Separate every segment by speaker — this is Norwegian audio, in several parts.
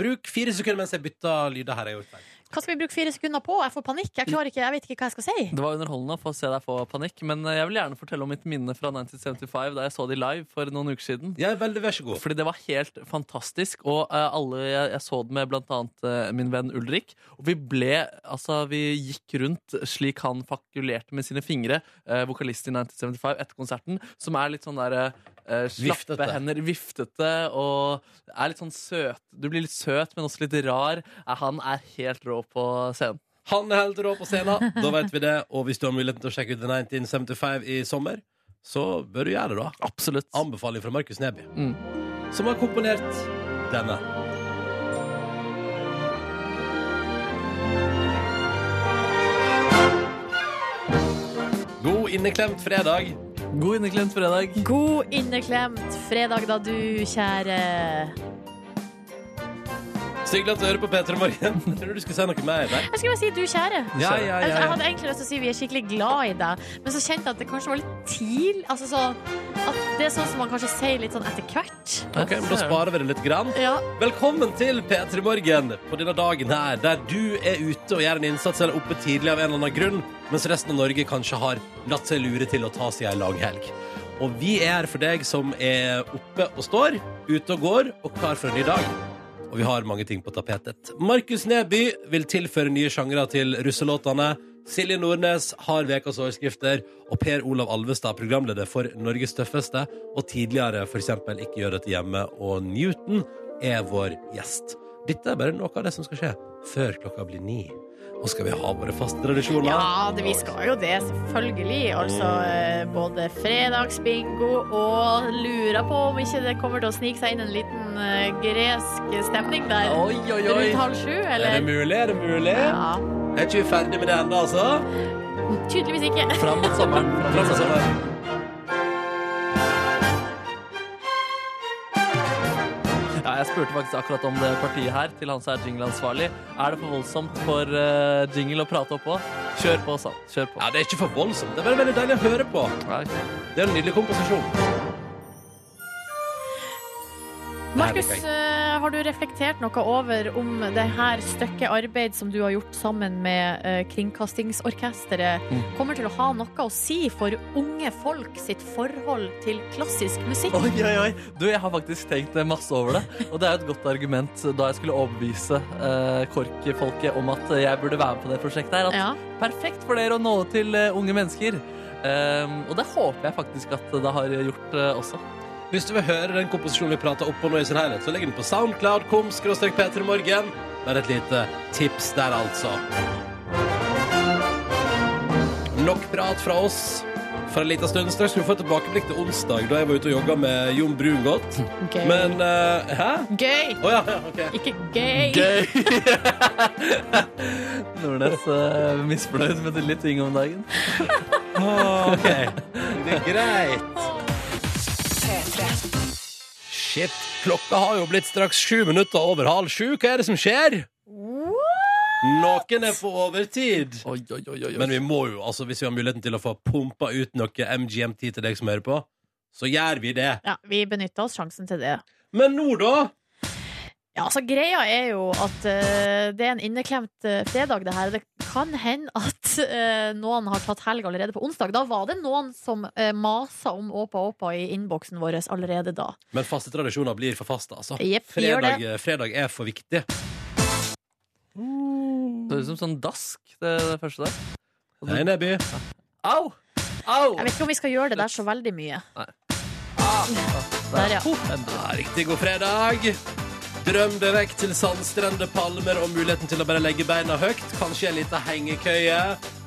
Speaker 1: Bruk fire sekunder mens jeg bytter lyder her jeg har gjort feil.
Speaker 2: Hva skal vi bruke fire sekunder på? Jeg får panikk. Jeg, klarer ikke, jeg vet ikke hva jeg skal si.
Speaker 3: Det var underholdende å få se deg få panikk, men eh, jeg vil gjerne fortelle om mitt minne fra 1975 da jeg så de live for noen uker siden.
Speaker 1: Ja, veldig, vær så god.
Speaker 3: Fordi det var helt fantastisk, og eh, alle jeg, jeg så det med blant annet eh, min venn Ulrik. Og vi ble, altså vi gikk rundt slik han fakulerte med sine fingre, eh, vokalist i 1975 etter konserten, som er litt sånn der eh, slappe
Speaker 1: Viftete.
Speaker 3: hender, viftete og er litt sånn søt. Du blir litt søt, men også litt rar. Eh, Han er helt rå på scenen.
Speaker 1: Han er helt rå på scenen, da vet vi det. Og hvis du har muligheten til å sjekke ut The 1975 i sommer, så bør du gjøre det, da.
Speaker 3: Absolutt.
Speaker 1: Anbefaling fra Markus Neby,
Speaker 3: Mm.
Speaker 1: som har komponert denne. God inneklemt fredag.
Speaker 3: God inneklemt fredag.
Speaker 2: God inneklemt fredag da, du kjære
Speaker 1: Så hyggelig at du hører på P3 Morgen. Jeg tror du skulle si noe mer. Nei.
Speaker 2: Jeg skulle bare si du kjære.
Speaker 1: Ja, ja,
Speaker 2: Altså, jeg hadde egentlig lyst til å si vi er skikkelig glad i deg, men så kjente jeg at det kanskje var litt tidlig. Altså, sånn- at det er sånn som man kanskje sier litt sånn etter hvert.
Speaker 1: Ok, men Da sparer vi det litt. grann.
Speaker 2: Ja.
Speaker 1: Velkommen til P3 Morgen på denne dagen her, der du er ute og gjør en innsats eller oppe tidlig av en eller annen grunn, mens resten av Norge kanskje har latt seg lure til å ta seg ei langhelg. Og vi er her for deg som er oppe og står, ute og går og klar for en ny dag. Og vi har mange ting på tapetet. Markus Neby vil tilføre nye sjangre til russelåtene. Silje Nordnes har ukas overskrifter. Og Per Olav Alvestad, programleder for Norges tøffeste, og tidligere f.eks. Ikke gjør dette hjemme og Newton, er vår gjest. Dette er bare noe av det som skal skje før klokka blir ni. Og skal vi ha våre faste tradisjoner?
Speaker 2: Ja, det, vi skal jo det, selvfølgelig. Altså eh, både fredagsbingo og lurer på om ikke det kommer til å snike seg inn en liten eh, gresk stemning der
Speaker 3: Oi, oi, oi.
Speaker 2: rundt halv sju,
Speaker 1: Er det
Speaker 2: eller?
Speaker 1: mulig? Er det mulig?
Speaker 2: Ja,
Speaker 1: Er ikke vi ferdig med det ennå, altså?
Speaker 2: tydeligvis ikke.
Speaker 3: Fram mot sommeren. Fram mot sommeren. Ja, jeg spurte faktisk akkurat om det partiet her til han som er jingleansvarlig. Er det for voldsomt for eh, jingle å prate oppå? Kjør på, sa han. Kjør på.
Speaker 1: Ja, det er ikke for voldsomt. Det er bare veldig deilig å høre på.
Speaker 3: Ja, ok.
Speaker 1: Det er en nydelig komposisjon.
Speaker 2: Markus,
Speaker 1: Det her liker
Speaker 2: eh, har du reflektert noe over om det her stykket arbeid som du har gjort sammen med eh, Kringkastingsorkesteret,
Speaker 3: Mm.
Speaker 2: kommer til å ha noe å si for unge folk sitt forhold til klassisk musikk?
Speaker 3: Oi, oi, oi. Du, jeg har faktisk tenkt eh, masse over det. Og det er jo et godt argument eh, da jeg skulle overbevise eh, KORK-folket om at eh, jeg burde være med på det prosjektet her. At
Speaker 2: Ja.
Speaker 3: perfekt for dere å nå til eh, unge mennesker. Ehm, og det håper jeg faktisk at det har gjort eh, også.
Speaker 1: Hvis du vil høre den komposisjonen vi prater opp på nå i sin helhet, så legg den på Soundcloud, kom, skråstrek Peter i morgen. Bare et lite tips der, altså. Nok prat fra oss. For en liten stund straks skal du få et tilbakeblikk til onsdag, da jeg var ute og jogga med Jon Brungot.
Speaker 2: Gøy.
Speaker 1: Men eh, Hæ?
Speaker 2: Gøy!
Speaker 1: Å ja, ja, OK.
Speaker 2: Ikke gøy.
Speaker 3: Gøy! Nordnes uh, misfornøyd med litt ting om dagen.
Speaker 1: Åh, ok. Det er greit. Shit, klokka har jo blitt straks sju minutter over halv sju. Hva er det som skjer? Noen er på overtid.
Speaker 3: Oi, oi, oi, oi.
Speaker 1: Men vi må jo, altså hvis vi har muligheten til å få pumpa ut noe MGMT til deg som hører på, så gjør vi det.
Speaker 2: Ja, vi benytta oss sjansen til det.
Speaker 1: Men nå, da?
Speaker 2: Ja, altså Greia er jo at eh, det er en inneklemt eh, fredag, det her. Det kan hende at eh, noen har tatt helg allerede på onsdag. Da var det noen som uh, masa om Åpa Åpa i innboksen vår allerede da.
Speaker 1: Men faste tradisjoner blir for faste, altså.
Speaker 2: Jepp, gjør
Speaker 1: Fredag, fredag er for viktig.
Speaker 3: Det høres ut som sånn dask, det, det første der.
Speaker 1: Nei, Neby.
Speaker 3: Au! Au!
Speaker 2: Jeg vet ikke om vi skal gjøre det der så veldig mye. Der, ja.
Speaker 1: Ja, ah, Riktig god fredag. Drøm deg vekk til sandstrender, palmer og muligheten til å bare legge beina høyt. Kanskje en liten hengekøye.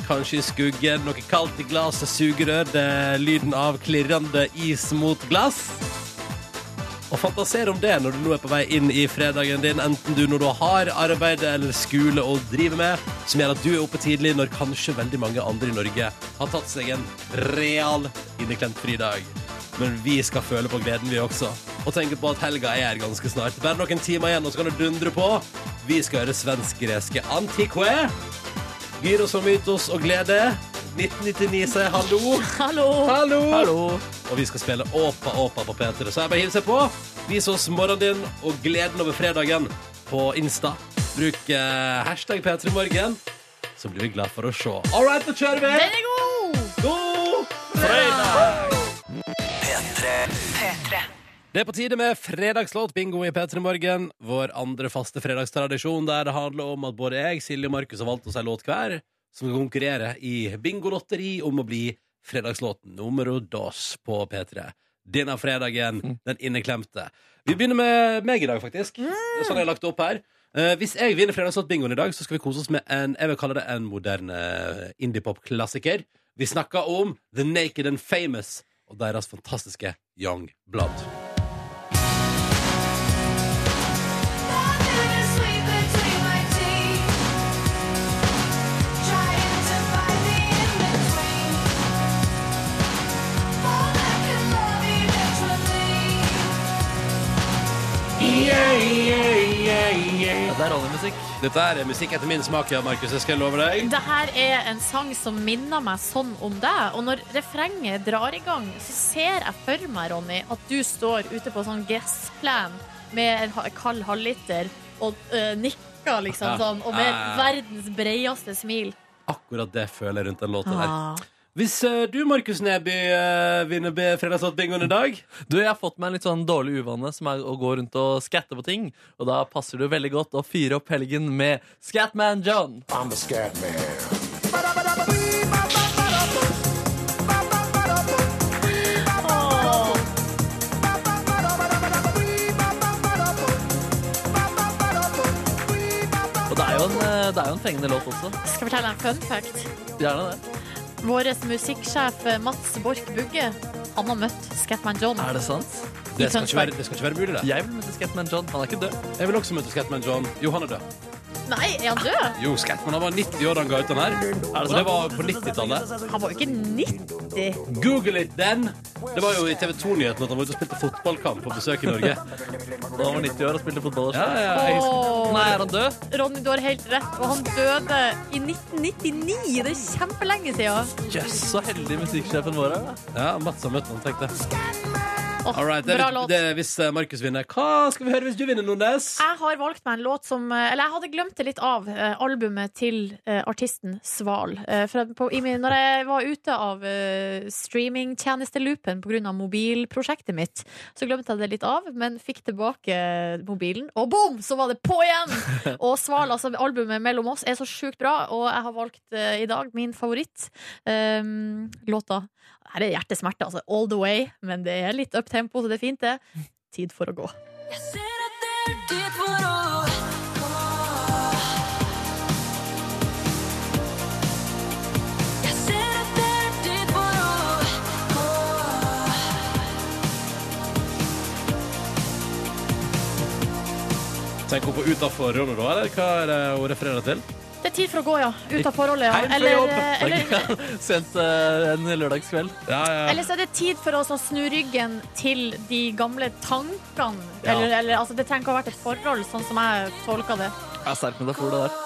Speaker 1: Kanskje i skuggen, noe kaldt i glasset, sugerør. Det er lyden av klirrende is mot glass. Og fantasere om det når du nå er på vei inn i fredagen din, enten du når du har arbeid eller skole å drive med, som gjør at du er oppe tidlig når kanskje veldig mange andre i Norge har tatt seg en real inneklemt fridag. Men vi skal føle på gleden, vi også. Og tenke på at helga er her ganske snart. Bare noen timer igjen, og så kan du dundre på. Vi skal høre svensk-greske Antiquae. Gyros og mytos og glede. 1999 sier hallo.
Speaker 2: Hallo!
Speaker 1: Hallo!
Speaker 3: Hallo!
Speaker 1: Og og vi skal spille Åpa Åpa på P3. Så jeg bare hilser på. Vis oss morgenen din og gleden over fredagen på Insta. Bruk eh, hashtag P3morgen, så blir vi glad for å se. All right, da kjører vi!
Speaker 2: Den er god!
Speaker 1: God fredag! Det er på tide med fredagslåtbingo i P3 Morgen. Vår andre faste fredagstradisjon der det handler om at både jeg, Silje og Markus har valgt oss en låt hver som skal konkurrere i bingolotteri om å bli fredagslåt numero dos på P3. Denne fredagen, den inneklemte. Vi begynner med meg i dag, faktisk. Det er sånn jeg har lagt det opp her. Eh, hvis jeg vinner fredagslåtbingoen i dag, så skal vi kose oss med en jeg vil kalle det en moderne eh, indiepop-klassiker. Vi snakker om The Naked and Famous og deres fantastiske Young Blood.
Speaker 3: Ja, det er rollemusikk.
Speaker 1: Dette her er musikk etter min smak, ja, Markus. Jeg skal love deg.
Speaker 2: Det her er en sang som minner meg sånn om deg. Og når refrenget drar i gang, så ser jeg for meg, Ronny, at du står ute på sånn gressplen med en ha- kald halvliter og eh, nikker liksom
Speaker 1: Ja.
Speaker 2: sånn, og med
Speaker 1: Ja.
Speaker 2: verdens breieste smil.
Speaker 1: Akkurat det føler jeg rundt den låta der.
Speaker 2: Ah.
Speaker 1: Hvis eh, du, Markus Neby, eh, vinner B- Fredagslåtbingoen i dag
Speaker 3: Du, Jeg har fått meg en litt sånn dårlig uvane, som er å gå rundt og skatte på ting. Og da passer det jo veldig godt å fyre opp helgen med Scatman John.
Speaker 4: I'm a scat man.
Speaker 3: Og det er jo en, eh, det er jo en fengende låt også.
Speaker 2: Skal jeg fortelle deg en fun fact.
Speaker 3: Gjerne det.
Speaker 2: Vår musikksjef eh, Mats Borch Bugge, han har møtt Scatman John.
Speaker 3: Er det sant?
Speaker 1: Det skal ikke være, det skal ikke være mulig, det.
Speaker 3: Jeg vil møte Scatman John. Han er ikke død.
Speaker 1: Jeg vil også møte Scatman John. Jo, han er død.
Speaker 2: Nei, er han død?
Speaker 1: Jo, Scatman han var 90 år da han ga ut den her.
Speaker 3: Er det
Speaker 1: Og det
Speaker 3: sant?
Speaker 1: var på 90-tallet.
Speaker 2: Han var jo ikke 90.
Speaker 1: Google it, den! Det var jo i TV 2-nyheten at han var ute og spilte fotballkamp på besøk i Norge.
Speaker 3: Da han var 90 år og spilte fotball. og
Speaker 1: Ja,
Speaker 3: sånn.
Speaker 1: ja, jeg husker.
Speaker 2: Åh.
Speaker 3: Nei, er han død?
Speaker 2: Ronny, du har helt rett. Og han døde i 1999. Det er kjempelenge siden.
Speaker 3: Jøss, så heldig musikksjefen vår er. da.
Speaker 1: ja Mats har møtt han, tenkte jeg.
Speaker 2: Åh,
Speaker 1: All right, det,
Speaker 2: bra
Speaker 1: er-
Speaker 2: låt. Ah.
Speaker 1: det, er hvis eh, Markus vinner. Hva skal vi høre hvis du vinner, Nordnes?
Speaker 2: Jeg har valgt meg en låt som eh, Eller jeg hadde glemt det litt av eh, albumet til eh, artisten Sval. Eh, for at på, i min, når jeg var ute av eh, streamingtjenesteloopen pga. mobilprosjektet mitt, så glemte jeg det litt av, men fikk tilbake mobilen, og boom, så var det på igjen! Og Sval, altså albumet mellom oss, er så sjukt bra, og jeg har valgt eh, i dag min favoritt. eh, låta. Her er hjertesmerte, altså. All the way. Men det er litt up tempo, så det er fint, det. Tid for å gå.
Speaker 1: Tenk hun på utafor rommet da, eller hva er det hun refererer til?
Speaker 2: Det er tid for å gå, ja. Ut av forholdet, ja.
Speaker 1: Hei, for
Speaker 2: Eller, eh,
Speaker 1: jobb.
Speaker 3: eh,
Speaker 2: eller,
Speaker 3: Sent eh, en lørdagskveld.
Speaker 1: Ja, ja.
Speaker 2: eller så er det tid for å så snu ryggen til de gamle tankene.
Speaker 1: Ja.
Speaker 2: Eller, eller, altså, det trenger ikke å ha vært et forhold, sånn som jeg tolka det.
Speaker 3: Jeg er sterk metafor, det der.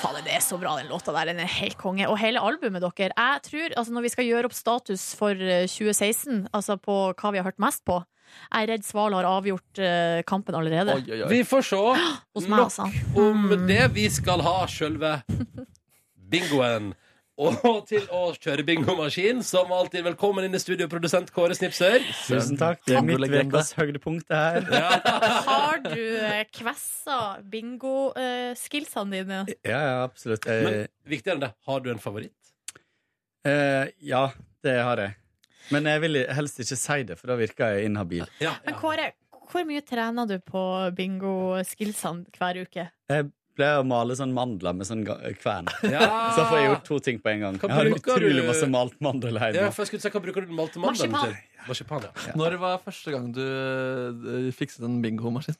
Speaker 2: Fader, det er så bra, den låta der. Den er helt konge. Og hele albumet dere. Jeg tror, altså Når vi skal gjøre opp status for eh, 2016, altså på hva vi har hørt mest på Jeg er redd Sval har avgjort eh, kampen allerede.
Speaker 3: Oi, oi, oi.
Speaker 1: Vi får se.
Speaker 2: Hos meg,
Speaker 1: Nok
Speaker 2: altså.
Speaker 1: om det. Vi skal ha sjølve bingoen. Og til å kjøre bingomaskin, som alltid, velkommen inn i studio, produsent Kåre Snipsør.
Speaker 5: Tusen takk. Det er mitt
Speaker 3: Tangolegende.
Speaker 5: ukas høydepunkt, det her.
Speaker 2: Har du eh, kvessa bingo-skillsene dine?
Speaker 5: Ja, ja, absolutt. Eh,
Speaker 1: Men viktigere enn det, har du en favoritt?
Speaker 5: eh, ja, det har jeg. Men jeg vil helst ikke si det, for da virker jeg inhabil.
Speaker 1: Ja,
Speaker 2: Men Kåre, hvor mye trener du på bingo-skillsene hver uke?
Speaker 5: Jeg pleier å male sånn mandler med sånn ga- kvern.
Speaker 1: Ja.
Speaker 5: Så får jeg gjort to ting på en gang.
Speaker 1: Ah. Hva
Speaker 5: Jeg har
Speaker 1: bruker du-
Speaker 5: utrolig masse malt mandel
Speaker 1: Ja,
Speaker 5: hjemme.
Speaker 1: for jeg skulle si, Hva bruker du den malte mandelen
Speaker 2: Marsipan.
Speaker 1: til? Marsipan. ja.
Speaker 3: Når var første gang du eh, fikset en bingomaskin?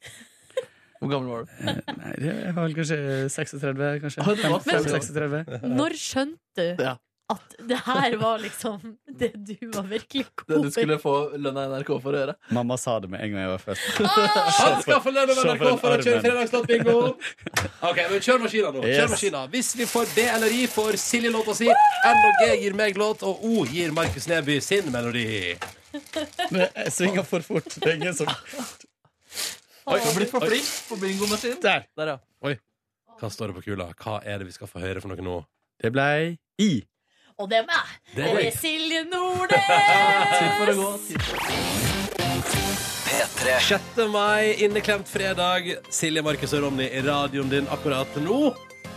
Speaker 3: Hvor gammel var du?
Speaker 5: Nei, det er vel kanskje 36, kanskje.
Speaker 3: Ah, det var
Speaker 5: 35,
Speaker 3: fem år.
Speaker 5: 36.
Speaker 2: Når skjønte du
Speaker 3: Ja.
Speaker 2: at det her var liksom det du var virkelig
Speaker 3: Det
Speaker 2: god
Speaker 3: du skulle få lønna i NRK for å gjøre?
Speaker 5: Mamma sa det med en gang jeg var født.
Speaker 1: Han skal få lønn av
Speaker 5: Se for
Speaker 1: NRK for å
Speaker 5: den
Speaker 1: kjøre
Speaker 5: armen.
Speaker 1: fredagslåt bingo! Ok, men kjør maskina nå. Kjør
Speaker 5: Yes.
Speaker 1: maskina. Hvis vi får B eller I, får Silje låta si. N og G gir meg låt, og O gir Markus Neby sin melodi.
Speaker 5: Men jeg svinger for fort. Det er ingen som
Speaker 3: Oi, jeg har blitt for flink på bingomaskinen.
Speaker 5: Der!
Speaker 3: Der, ja.
Speaker 1: Hva står det på kula? Hva er det vi skal få høre for noe nå?
Speaker 5: Det ble I.
Speaker 2: Og det er meg.
Speaker 1: Det er
Speaker 2: Det er
Speaker 1: jeg.
Speaker 2: Silje
Speaker 3: Tid for å
Speaker 2: Nordnes.
Speaker 3: gå. Tid for
Speaker 1: 6. mai, inneklemt fredag. Silje, Markus og Ronny i radioen din akkurat nå.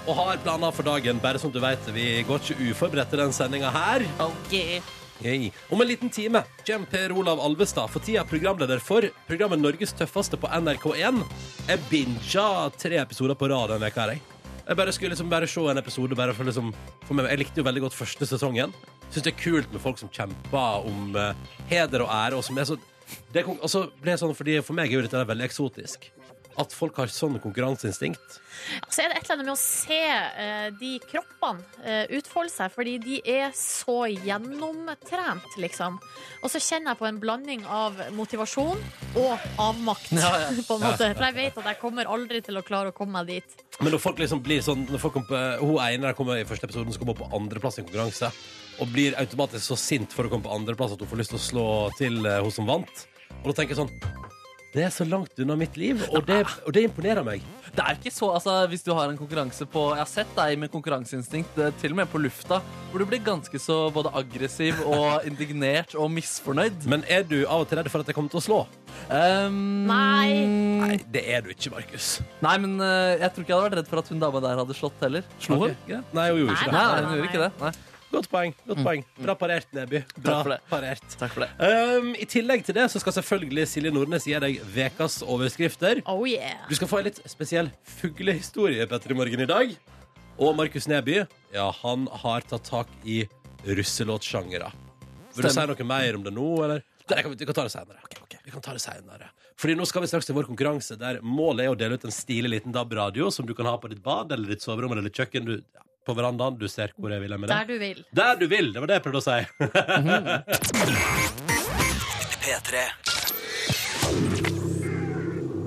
Speaker 1: Og har planer for dagen, bare som du vet. Vi går ikke uforberedt til den sendinga her. Yay. Om en liten time kommer Per Olav Alvestad, for tida programleder for programmet Norges tøffeste på NRK1. Jeg binga tre episoder på rad denne veka her, jeg. Jeg bare skulle liksom bare se en episode. Bare for liksom, for meg. Jeg likte jo veldig godt første sesongen. Syns det er kult med folk som kjemper om eh, heder og ære. Og som er så det, er kon- og så ble det sånn, fordi For meg er jo dette her veldig eksotisk. At folk har sånn konkurranseinstinkt.
Speaker 2: Så er det et eller annet med å se eh, de kroppene eh, utfolde seg, fordi de er så gjennomtrent, liksom. Og så kjenner jeg på en blanding av motivasjon og avmakt,
Speaker 3: Ja, ja.
Speaker 2: på en måte. For jeg vet at jeg kommer aldri til å klare å komme meg dit.
Speaker 1: Men når folk liksom blir sånn Når folk kom på, Hun ene der kommer i første episoden Som kommer hun på andreplass i en konkurranse Og blir automatisk så sint for å komme på andreplass At hun får lyst til å slå til eh, hun som vant Og da tenker jeg sånn Det er så langt unna mitt liv Og det, og det imponerer meg
Speaker 3: Det er ikke så, altså Hvis du har en konkurranse på Jeg har sett deg med konkurranseinstinkt, eh, til og med på lufta, hvor du blir ganske så både aggressiv og indignert og misfornøyd.
Speaker 1: Men er du av og til redd for at jeg kommer til å slå?
Speaker 3: Um,
Speaker 2: Nei.
Speaker 1: Nei, det er du ikke, Markus
Speaker 3: Nei, men eh, jeg tror ikke jeg hadde vært redd for at hun dama der hadde slått heller. Slo
Speaker 1: Ok.
Speaker 3: hun? Ikke?
Speaker 1: Nei, hun gjorde
Speaker 2: Nei,
Speaker 1: ikke
Speaker 3: Nei,
Speaker 1: det
Speaker 3: nei, hun gjorde ikke det. Nei.
Speaker 1: Godt poeng, godt poeng Bra parert, Neby Bra
Speaker 3: Takk for det.
Speaker 1: parert
Speaker 3: Takk for det.
Speaker 1: um, I tillegg til det så skal selvfølgelig Silje Nordnes gi deg vekas overskrifter
Speaker 2: Oh yeah.
Speaker 1: Du skal få en litt spesiell fuglehistorie Petter, i morgen i dag. Og Markus Neby ja, han har tatt tak i russelåtsjangere. Vil du si
Speaker 3: Stemmer.
Speaker 1: noe mer om det nå? Eller? Nei, kan vi, vi kan ta det senere. Vi kan ta det senere. Fordi nå skal vi straks til vår konkurranse, der målet er å dele ut en stilig liten DAB-radio som du kan ha på ditt bad eller ditt soverom eller ditt kjøkken. Du, ja, på verandaen. Du ser hvor jeg vil hen med det.
Speaker 2: Der du vil.
Speaker 1: Der du vil! Det var det jeg prøvde å si.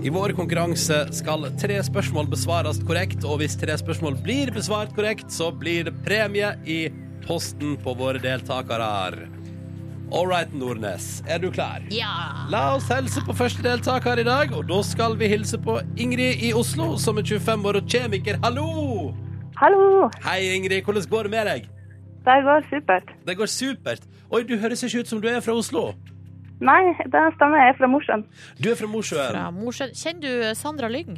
Speaker 1: I vår konkurranse skal tre spørsmål besvares korrekt, og hvis tre spørsmål blir besvart korrekt, så blir det premie i posten på våre deltakere. All right, Nordnes, er du klar?
Speaker 2: Ja.
Speaker 1: La oss helse på første deltaker i dag, og da skal vi hilse på Ingrid i Oslo, som er 25 år og kjemiker. Hallo!
Speaker 4: Hallo!
Speaker 1: Hei, Ingrid, hvordan går det med deg?
Speaker 4: Det går supert.
Speaker 1: Det går supert. Oi, du høres ikke ut som du er fra Oslo.
Speaker 4: Nei, det stemmer. Jeg er fra Mosjøen.
Speaker 1: Du er fra Mosjøen.
Speaker 2: Fra Mosjøen. Kjenner du Sandra Lyng?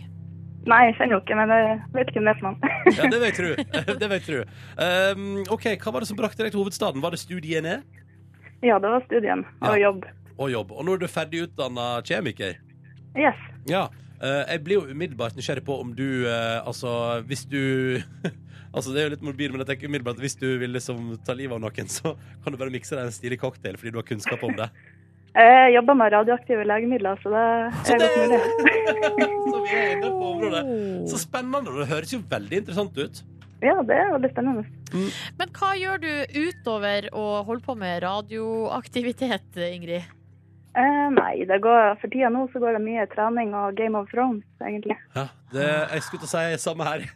Speaker 4: Nei, jeg kjenner jo ikke, men jeg vet ikke hvem det er for noen.
Speaker 1: Ja, det vil jeg tro. Det vil jeg tro. Um, OK, hva var det som brakte deg til hovedstaden? Var det studiene
Speaker 4: ja, det var studien og
Speaker 1: Ja.
Speaker 4: jobb.
Speaker 1: og jobb? Og nå er du ferdig utdanna kjemiker.
Speaker 4: Yes.
Speaker 1: Ja. eh, jeg blir jo umiddelbart nysgjerrig på om du eh, Altså, hvis du Altså, Det er jo litt morbid, men jeg tenker umiddelbart hvis du vil liksom ta livet av noen, så kan du bare mikse deg en stilig cocktail fordi du har kunnskap om det.
Speaker 4: Jeg jobber med radioaktive legemidler, så det
Speaker 1: Så
Speaker 4: er godt
Speaker 1: det-
Speaker 4: mulig.
Speaker 1: Så vi er inne på området. Så
Speaker 2: Oh.
Speaker 1: spennende. og Det høres jo veldig interessant ut.
Speaker 4: Ja, det er veldig spennende.
Speaker 2: Men hva gjør du utover å holde på med radioaktivitet, Ingrid?
Speaker 4: Eh, nei, det går, for tida nå så går det mye trening og Game of Thrones, egentlig.
Speaker 1: Ja, det, jeg skulle til å si samme her.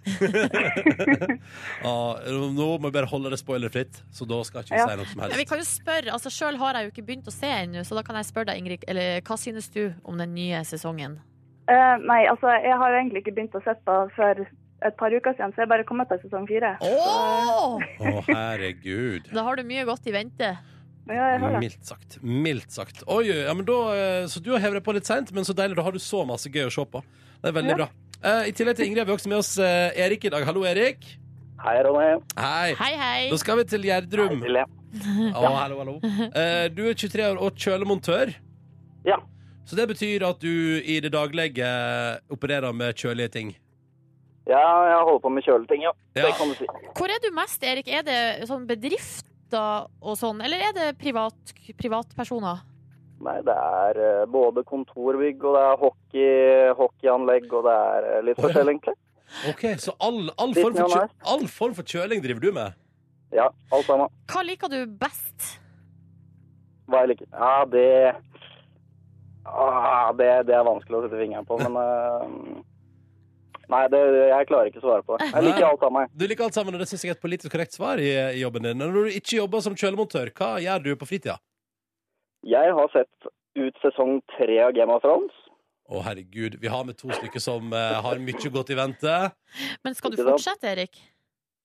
Speaker 1: ja, nå må jeg bare holde det spoilerfritt, så da skal jeg ikke
Speaker 4: Ja.
Speaker 1: si noe som
Speaker 2: Ja, Vi
Speaker 1: helst.
Speaker 2: kan jo spørre, altså Sjøl har jeg jo ikke begynt å se ennå, så da kan jeg spørre deg, Ingrid, eller hva synes du om den nye sesongen?
Speaker 4: Eh, nei, altså, jeg har jo egentlig ikke begynt å se på for et par uker siden, så jeg er bare kommet til sesong fire.
Speaker 2: Åh!
Speaker 1: Å, herregud.
Speaker 2: Da har du mye godt i vente.
Speaker 4: Men ja, jeg har det.
Speaker 1: Mildt sagt. Mildt sagt. Oi, ja, men da, eh, så du har hevet deg på litt seint, men så deilig. Da har du så masse gøy å se på. Det er veldig
Speaker 4: Ja.
Speaker 1: bra. Eh, I tillegg til Ingrid har vi også med oss eh, Erik i dag. Hallo, Erik.
Speaker 6: Hei, Ronny.
Speaker 1: Hei.
Speaker 2: Hei, hei.
Speaker 1: Da skal vi til Gjerdrum.
Speaker 6: Silje.
Speaker 1: Å, hallo, hallo. Eh, du er 23 år og kjølemontør.
Speaker 6: Ja.
Speaker 1: Så det betyr at du i det daglige opererer med kjølige ting.
Speaker 6: Ja, jeg holder på med kjøleting, ja.
Speaker 1: Ja.
Speaker 6: Det kan du si.
Speaker 2: Hvor er du mest, Erik? Er det sånn bedrifter og sånn, eller er det privat, privatpersoner?
Speaker 6: Nei, det er eh, både kontorbygg, og det er hockey, hockeyanlegg, og det er eh, litt
Speaker 1: Å, ja.
Speaker 6: forskjell, egentlig.
Speaker 1: Ok, Så all, all,
Speaker 6: Litt
Speaker 1: form for kjø
Speaker 6: neonær.
Speaker 1: all form for kjøling driver du med?
Speaker 6: Ja, alt sammen.
Speaker 2: Hva liker du best?
Speaker 6: Hva jeg liker. Ja, det... Ah, det, det er vanskelig å sette fingeren på, men... eh, Nei, det, jeg klarer ikke å svare på det. Jeg liker
Speaker 1: Nei.
Speaker 6: alt sammen.
Speaker 1: Du liker alt sammen, og det synes jeg er et politisk korrekt svar i, i jobben din. Når du ikke jobber som kjølemontør, hva gjør du på fritida?
Speaker 6: Jeg har sett ut sesong tre av Game of Thrones.
Speaker 1: Å, herregud. Vi har med to stykker som eh, har mye godt i vente.
Speaker 2: Men skal du
Speaker 6: Ikke sant?
Speaker 2: fortsette, Erik?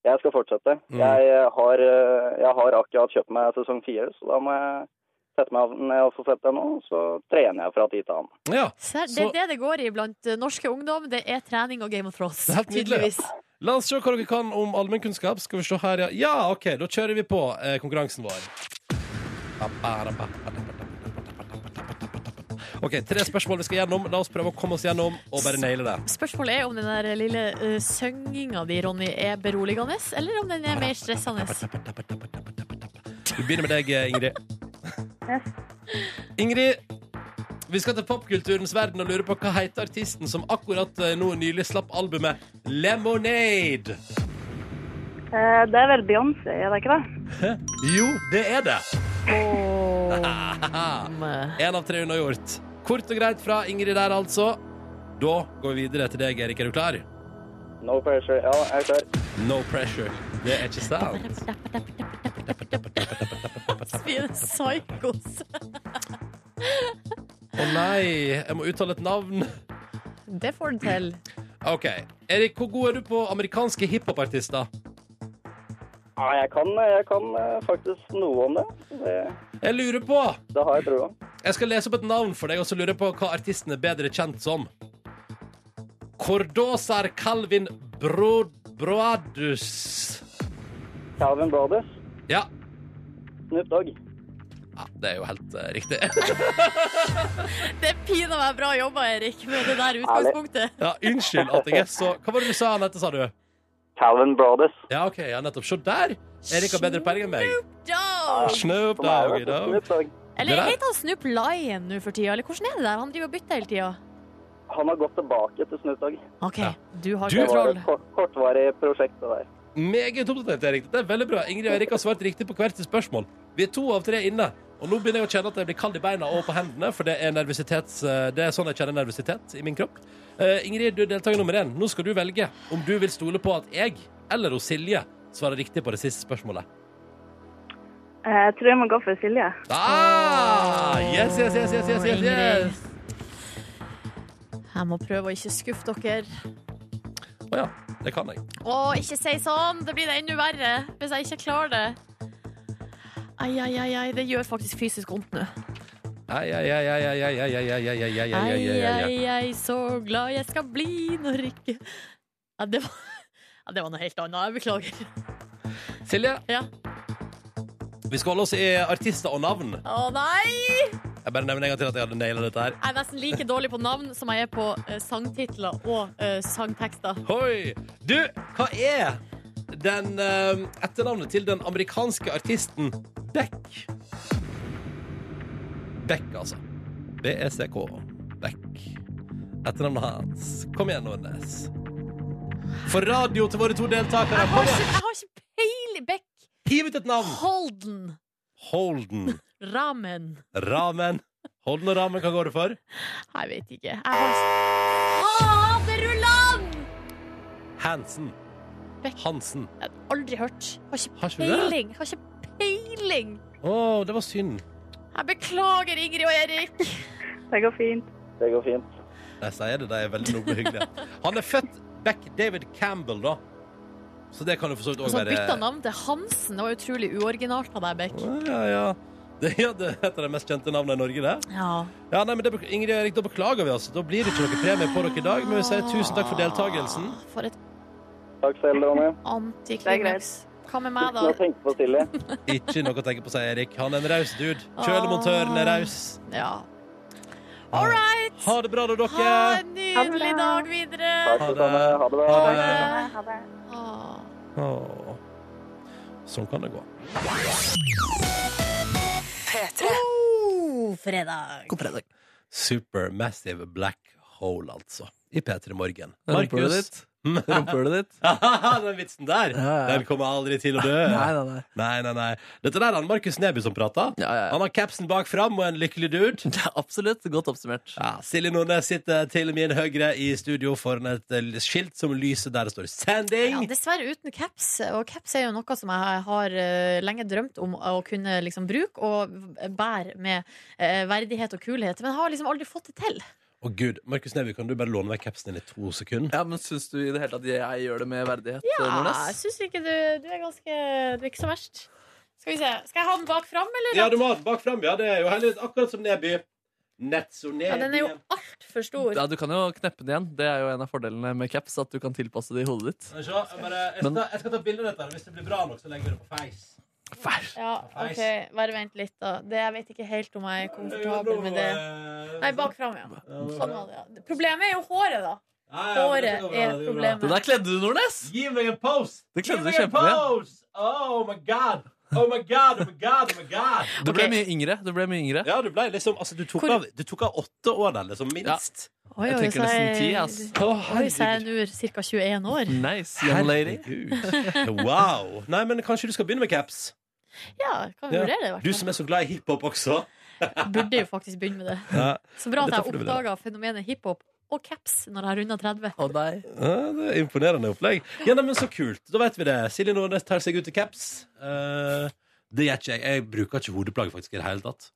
Speaker 6: Jeg skal fortsette.
Speaker 1: Mm.
Speaker 6: Jeg, eh, har, eh, jeg har akkurat kjøpt meg sesong fire, så da må jeg sette meg ned og få sett den nå. Så trener jeg fra tid til annen.
Speaker 1: Ja.
Speaker 2: Ser, det
Speaker 1: Så-
Speaker 2: er det det går i blant eh, norske ungdom. Det er trening og Game of Thrones.
Speaker 1: Det er helt nydelig.
Speaker 2: Tydeligvis.
Speaker 1: La oss se hva dere kan om allmennkunnskap. Skal vi se her, ja. Ja, OK, da kjører vi på eh, konkurransen vår. OK, tre spørsmål vi skal gjennom. La oss prøve å komme oss gjennom og bare naile det.
Speaker 2: Spørsmålet er om den der lille uh, sønginga di, Ronny, er beroligende, eller om den er mer stressende.
Speaker 1: Vi begynner med deg, eh, Ingrid.
Speaker 4: Yes.
Speaker 1: Ingrid, vi skal til popkulturens verden og lure på hva heter artisten som akkurat eh, nå nylig slapp albumet Lemonade?
Speaker 4: Eh, Det er vel Beyoncé, er det ikke det?
Speaker 1: Jo, det er det.
Speaker 2: Om, eh,
Speaker 1: Én av tre unnagjort. Kort og greit fra Ingrid der, altså. Da går vi videre til deg, Erik. Er du klar?
Speaker 6: No pressure. Ja, jeg er klar.
Speaker 1: No pressure. Det er ikke sant.
Speaker 2: Vi er psychos.
Speaker 1: Å nei, jeg må uttale et navn.
Speaker 2: Det får den til.
Speaker 1: OK. Erik, hvor god er du på amerikanske hiphopartister?
Speaker 6: Ja, jeg kan, jeg kan eh, faktisk noe om det. Det,
Speaker 1: Jeg lurer på
Speaker 6: det har jeg trua.
Speaker 1: Jeg skal lese opp et navn for deg, og så lurer jeg på hva artisten er bedre kjent som. Cordosar Calvin Bro Broadus.
Speaker 6: Calvin Brothers,
Speaker 1: Ja.
Speaker 6: Snoop Dogg.
Speaker 1: ja. Det er jo helt eh, riktig.
Speaker 2: Det er pinadø meg bra jobba, Erik, med det der utgangspunktet.
Speaker 1: Ja, Unnskyld at jeg er så Hva var det du sa han hette, sa du?
Speaker 6: Calvin Brothers.
Speaker 1: Ja, OK, ja, nettopp. Se der! Erik har bedre peiling enn meg.
Speaker 2: Ja.
Speaker 1: Snoop
Speaker 6: For meg er
Speaker 1: Dogg
Speaker 6: det
Speaker 1: i dag.
Speaker 6: Snoop Dogg.
Speaker 1: Det
Speaker 2: Eller
Speaker 1: der-
Speaker 2: heter han Snoop Lion nå for tida? Eller hvordan er det der? Han driver og bytter hele tida.
Speaker 6: Han har gått tilbake til Snoop Dogg.
Speaker 2: OK,
Speaker 1: Ja.
Speaker 2: du har
Speaker 1: Du-
Speaker 6: Det var
Speaker 2: kontroll.
Speaker 6: et kort, kortvarig prosjekt, det der.
Speaker 1: Meget oppdatert, Erik. Dette er veldig bra. Ingrid og Erik har svart riktig på hvert sitt spørsmål. Vi er to av tre inne. Og nå begynner jeg å kjenne at jeg blir kald i beina og på hendene, for det er, nervøsitets, det er sånn jeg kjenner nervøsitet i min kropp. Eh, Ingrid, du er deltaker nummer én. Nå skal du velge om du vil stole på at jeg eller hos Silje svarer riktig på det siste spørsmålet.
Speaker 4: Eh, Jeg tror jeg må gå for Silje.
Speaker 1: Ah! Yes, yes, yes, yes, yes, yes, yes.
Speaker 2: Jeg må prøve å ikke skuffe dere.
Speaker 1: Å ja, det kan jeg.
Speaker 2: Å, ikke si sånn! Det blir det enda verre hvis jeg ikke klarer det. Ai, ai, ai, ai. Det gjør faktisk fysisk vondt nå.
Speaker 1: Ai, ai, ai, ai, ai, ai, ai, ai, ai, ai, ai, ai,
Speaker 2: Ai,
Speaker 1: ai, ai, ai.
Speaker 2: ai, ai, så glad jeg skal bli når ikke ja, det, var... ja, det var noe helt annet. Jeg beklager.
Speaker 1: Silje,
Speaker 2: Ja.
Speaker 1: vi skal holde oss i artister og navn.
Speaker 2: Å nei!
Speaker 1: Jeg bare nevner en gang til at jeg hadde naila dette her.
Speaker 2: Jeg er nesten like dårlig på navn som jeg er på eh, sangtitler og eh, sangtekster.
Speaker 1: Hoi! Du, hva er den eh, etternavnet til den amerikanske artisten Beck? Beck, altså. B-E-C-K. Beck. Etternavnet hans. Kom igjen, Nordnes. For radio til våre to deltakere.
Speaker 2: Jeg har
Speaker 1: Kom
Speaker 2: ikke,
Speaker 1: igjen!
Speaker 2: jeg har ikke peiling Beck
Speaker 1: Hiv ut et navn!
Speaker 2: Holden
Speaker 1: Holden.
Speaker 2: Ramen.
Speaker 1: Ramen. Holden og Ramen, hva går det for?
Speaker 2: Jeg vet ikke. Jeg har Faderullan!
Speaker 1: Hansen.
Speaker 2: Beck.
Speaker 1: Hansen.
Speaker 2: Jeg har aldri hørt. Jeg har
Speaker 1: Har
Speaker 2: ikke
Speaker 1: ikke du det?
Speaker 2: peiling. Jeg har ikke peiling.
Speaker 1: Å, det var synd.
Speaker 2: Jeg beklager, Ingrid og Erik.
Speaker 4: Det går fint.
Speaker 6: Det går fint.
Speaker 1: De sier det, de er veldig noble og hyggelige. Han er født Beck David Campbell, da. Så det kan jo for så vidt
Speaker 2: Og
Speaker 1: òg
Speaker 2: så
Speaker 1: være
Speaker 2: bytta Altså, navn til Hansen. Det var utrolig uoriginalt av deg, Beck.
Speaker 1: Ja, ja. Det ja, det er et av de mest kjente navnene i Norge, det.
Speaker 2: Ja.
Speaker 1: Ja, nei, men det, bek- Ingrid og Erik, da beklager vi oss. Da blir det ikke noe premie på dere i dag, men vi sier tusen takk for deltakelsen.
Speaker 2: Ah, For et
Speaker 6: Takk selv, Ronny.
Speaker 2: antiklimaks. Hva med meg,
Speaker 6: Nå
Speaker 2: da?
Speaker 6: tenker på Silje.
Speaker 1: Ikke noe å tenke på, sier Erik. Han er en raus dude. Kjølemontøren er raus.
Speaker 2: Ja. All right.
Speaker 1: Ha det bra, da, dere.
Speaker 2: Ha en nydelig dag videre.
Speaker 6: Takk
Speaker 1: Ha det.
Speaker 6: for samme. Ha det bra.
Speaker 1: Ha det.
Speaker 2: Ha det.
Speaker 4: Ha
Speaker 2: Åh.
Speaker 4: det.
Speaker 1: Åh. Sånn kan det gå.
Speaker 2: God Oh, fredag.
Speaker 1: God fredag. Supermassive Black Hole, altså. I P3 Morgen.
Speaker 3: Rumpa
Speaker 1: Markus,
Speaker 3: ditt. Rumpehullet ditt.
Speaker 1: den vitsen der!
Speaker 3: Ja, ja.
Speaker 1: Den kommer aldri til å dø.
Speaker 3: Nei, nei, nei.
Speaker 1: Nei, nei, nei. Dette der er han Markus Neby som prater.
Speaker 3: Ja, ja, ja.
Speaker 1: Han har capsen bak fram og en lykkelig dude.
Speaker 3: Ja, Absolutt. Godt oppsummert.
Speaker 1: Ja, Silje Nordnes sitter til min høyre i studio foran et eh, skilt som lyser der det står 'Sending'.
Speaker 2: Ja, dessverre uten caps, og caps er jo noe som jeg har eh, lenge drømt om å kunne liksom bruke og bære med eh, verdighet og kulhet, men jeg har liksom aldri fått det til.
Speaker 1: Å gud, Markus Neby, kan du bare låne vekk capsen din i to sekunder?
Speaker 3: Ja, men Syns du i det hele tatt jeg gjør det med verdighet?
Speaker 2: Ja, jeg
Speaker 3: Nordnes?
Speaker 2: syns Ah, ikke du Du er ganske Du er ikke så verst. Skal vi se. Skal jeg ha den bak fram, eller?
Speaker 1: Ja, du må ha den bak fram. Ja, det er jo heller akkurat som Neby. Netso Neby.
Speaker 2: Ja, den er jo altfor stor.
Speaker 3: Ja, Du kan jo kneppe den igjen. Det er jo en av fordelene med caps. At du kan tilpasse det i hodet ditt.
Speaker 1: Skal vi se, Jeg, bare, jeg, skal,
Speaker 3: Men-
Speaker 1: jeg skal ta bilde av dette. her, Hvis det blir bra nok, så legger vi det på Face.
Speaker 3: Fær.
Speaker 2: Ja, OK. Bare vent litt, da. Det, jeg vet ikke helt om jeg er komfortabel med det.
Speaker 1: Eh,
Speaker 2: Nei, bak fram, ja. Sånn var det, ja. Problemet er jo håret, da. Håret er
Speaker 3: Det
Speaker 2: problemet.
Speaker 3: der kledde du, Nordnes!
Speaker 1: Gi meg en pose!
Speaker 3: Det
Speaker 1: Gi
Speaker 3: kledde du
Speaker 1: meg en
Speaker 3: kjempebra.
Speaker 1: pose! Oh my god! Oh my god, oh my god, oh my god!
Speaker 3: Du ble
Speaker 2: Ok.
Speaker 3: mye yngre. Du ble mye yngre.
Speaker 1: Ja, du ble liksom altså, du, tok
Speaker 2: Hvor-
Speaker 1: av, du tok av åtte år der, liksom. Minst.
Speaker 2: Oi,
Speaker 3: Jeg tenker
Speaker 2: så
Speaker 3: nesten ti,
Speaker 2: jeg-
Speaker 3: ass.
Speaker 1: Å,
Speaker 2: Oi, så jeg er nå ca. 21 år.
Speaker 3: Nice, young lady.
Speaker 1: Herregud. Wow. Nei, men kanskje du skal begynne med caps?
Speaker 2: Ja, kan vi
Speaker 1: Ja.
Speaker 2: vurdere det, i hvert
Speaker 1: Du
Speaker 2: fall.
Speaker 1: som er så glad i hiphop også.
Speaker 2: Burde jo faktisk begynne med det.
Speaker 1: Ja.
Speaker 2: Så bra at
Speaker 1: Dette
Speaker 2: jeg
Speaker 1: får du vel
Speaker 2: oppdaga fenomenet hiphop og caps når jeg runda 30.
Speaker 3: Og deg.
Speaker 1: Ja, det er imponerende opplegg. Ja, nei, men Så kult. Da vet vi det. Silje Nordnes tar seg ut i caps. Eh, det gjør ikke jeg. Jeg bruker ikke hodeplagg faktisk i det hele tatt.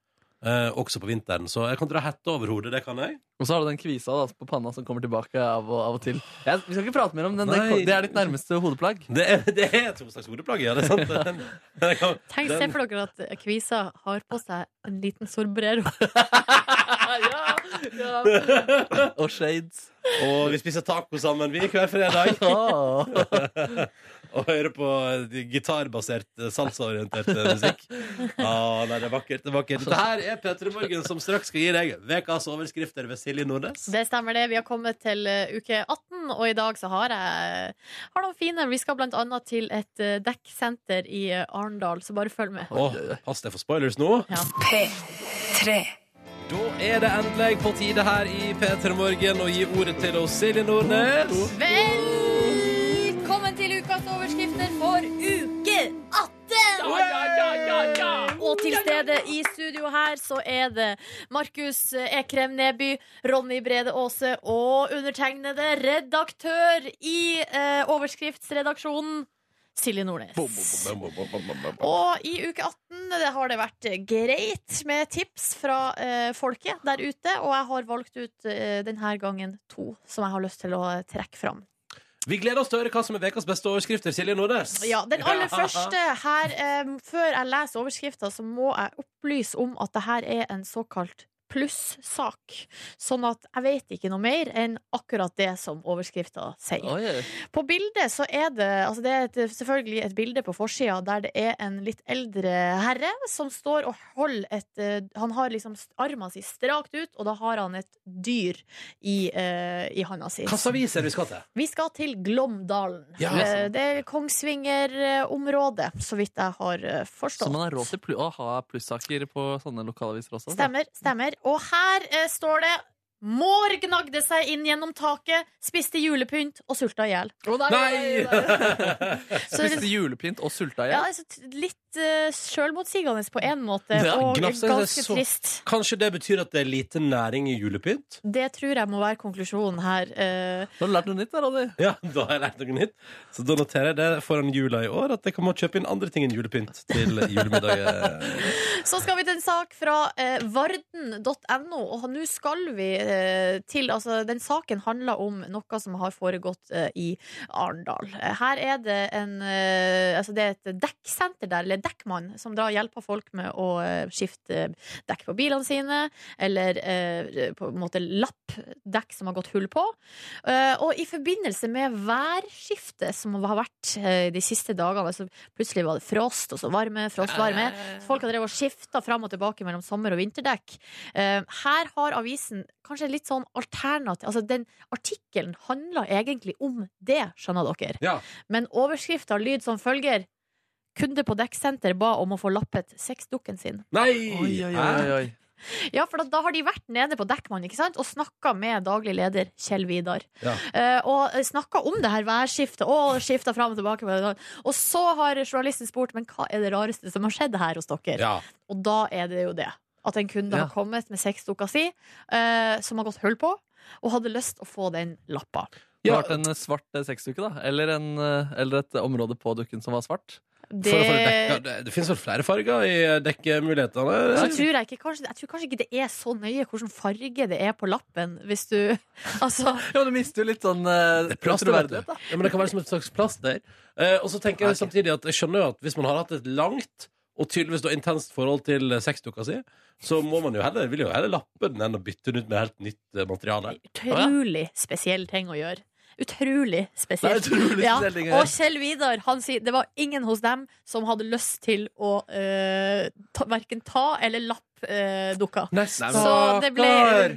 Speaker 1: Eh, også på vinteren. Så jeg kan dra hette over hodet. Det kan jeg.
Speaker 3: Og så har du den kvisa da, på panna som kommer tilbake av og, av og til. Jeg, vi skal ikke prate mer om den.
Speaker 1: Nei.
Speaker 3: Det, det er ditt nærmeste hodeplagg.
Speaker 1: Det er, det er to slags hodeplagg, ja. Det er sant. Den, den kan,
Speaker 2: Tenk se
Speaker 1: den,
Speaker 2: for dere at kvisa har på seg en liten sorbrero.
Speaker 3: ja, ja. Og shades.
Speaker 1: og vi spiser taco sammen, vi, hver fredag.
Speaker 3: Åh.
Speaker 1: Og hører på gitarbasert, eh, salsaorientert eh, musikk. Ah, nei, det er vakkert. det er vakkert Dette her er P3 Morgen, som straks skal gi deg ukas overskrifter ved Silje Nordnes.
Speaker 2: Det stemmer det. Vi har kommet til eh, uke 18, og i dag så har jeg har noen fine. Vi skal blant annet til et eh, dekksenter i eh, Arendal, så bare følg med.
Speaker 1: Åh, pass deg for spoilers nå.
Speaker 7: P3.
Speaker 1: Da er det endelig på tide her i P3 Morgen å gi ordet til oss, Silje Nordnes.
Speaker 2: Velkommen til ukas overskrifter for uke 18! Og til stede i studio her så er det Markus Ekrem Neby, Ronny Brede Aase og undertegnede redaktør i eh, overskriftsredaksjonen, Silje Nordnes. Og i uke 18 det har det vært greit med tips fra eh, folket der ute, og jeg har valgt ut eh, denne gangen to som jeg har lyst til å trekke fram.
Speaker 1: Vi gleder oss til å høre hva som er ukas beste overskrifter, Silje Nordnes.
Speaker 2: Ja, Den aller første her eh, Før jeg leser overskrifta, så må jeg opplyse om at det her er en såkalt plussak. Sånn at jeg vet ikke noe mer enn akkurat det som overskrifta sier.
Speaker 3: Oi.
Speaker 2: På bildet så er det altså Det er et, selvfølgelig et bilde på forsida der det er en litt eldre herre som står og holder et eh, Han har liksom st- armen sin strakt ut, og da har han et dyr i, eh, i handa si.
Speaker 1: Hvilken avis er det vi skal til?
Speaker 2: Vi skal til Glåmdalen.
Speaker 1: Ja.
Speaker 2: Eh, det er Kongsvinger-området, så vidt jeg har eh,
Speaker 3: Så
Speaker 2: forstått.
Speaker 3: man har råd til plu- å ha plussaker på sånne lokalaviser også? da.
Speaker 2: Stemmer, stemmer. Og her eh, står det Mår gnagde seg inn gjennom taket, spiste julepynt og sulta i hjel.
Speaker 1: Nei!
Speaker 2: Så det-
Speaker 3: Spiste julepynt og sulta i
Speaker 2: Ja,
Speaker 3: hjel.
Speaker 2: altså, t- litt uh, sjølmotsigende på én måte,
Speaker 3: Ja,
Speaker 2: og
Speaker 1: gnafsing, det er
Speaker 2: ganske
Speaker 1: så-
Speaker 2: trist.
Speaker 1: Kanskje det betyr at det er lite næring i julepynt?
Speaker 2: Det tror jeg må være konklusjonen her. eh.
Speaker 3: Nå har du lært noe nytt, da, Ronny.
Speaker 1: Ja, da har jeg lært noe nytt. Så da noterer jeg det foran jula i år, at jeg kan må kjøpe inn andre ting enn julepynt til julemiddag.
Speaker 2: Så skal vi til en sak fra eh, varden.no, og nå skal vi eh, til Altså, den saken handler om noe som har foregått eh, i Arendal. Eh, Her er det en eh, Altså, det er et dekksenter der, eller dekkmann, som da hjelper folk med å eh, skifte dekk på bilene sine, eller eh, på en måte lappdekk som har gått hull på. Eh, og i forbindelse med værskiftet som har vært eh, de siste dagene, altså plutselig var det frost, og så varme, frost, varme. Folk har drevet og skifta fram og tilbake mellom sommer- og vinterdekk. Eh, her har avisen kanskje litt sånn alternativ Altså, den artikkelen handla egentlig om det, skjønner dere.
Speaker 1: Ja.
Speaker 2: Men overskrifta lyd som følger. Kunde på dekksenter ba om å få lappet sexdukken sin.
Speaker 1: Nei!
Speaker 3: Oi, oi, oi, oi.
Speaker 2: Ja, for da, da har de vært nede på Dekkmann ikke sant? og snakka med daglig leder Kjell Vidar.
Speaker 5: Ja.
Speaker 2: Eh, og snakka om det her værskiftet og skifta fram og tilbake. på det. Og så har journalisten spurt men hva er det rareste som har skjedd her hos dere.
Speaker 1: Ja.
Speaker 2: Og da er det jo det. At en kunde
Speaker 3: Ja.
Speaker 2: har kommet med sexdukka si, eh, som har gått hull på, og hadde lyst å få den lappa.
Speaker 3: Det
Speaker 1: Ja.
Speaker 3: har vært en svart eh, sexdukke, da. Eller, en, eh, eller et område på dukken som var svart.
Speaker 1: For, å få det, dekka.
Speaker 2: Det
Speaker 1: det, det finnes vel flere farger i eh, dekkemulighetene?
Speaker 2: så tror jeg, ikke, kanskje, jeg tror kanskje ikke det er så nøye hvilken farge det er på lappen, hvis du Altså,
Speaker 3: Ja, men du mister jo litt sånn eh,
Speaker 1: Det er plaster, vet du.
Speaker 3: troverdighet, da.
Speaker 1: Ja, men det kan være som et slags plaster. Eh, og så tenker jeg samtidig at jeg skjønner jo at hvis man har hatt et langt og tydeligvis da intenst forhold til eh, sexdukka si, så må man jo heller, vil jo heller lappe den enn å bytte den ut med helt nytt eh, materiale.
Speaker 2: utrolig spesiell ting å gjøre. Utrolig
Speaker 3: Det er
Speaker 2: spesielt.
Speaker 3: utrolig
Speaker 2: Ja,
Speaker 3: spesielle ting å
Speaker 2: og
Speaker 3: gjøre.
Speaker 2: Kjell Vidar han sier det var ingen hos dem som hadde lyst til å eh, ta, verken ta eller lappe eh, dukka.
Speaker 1: Nei,
Speaker 2: Så, det ble,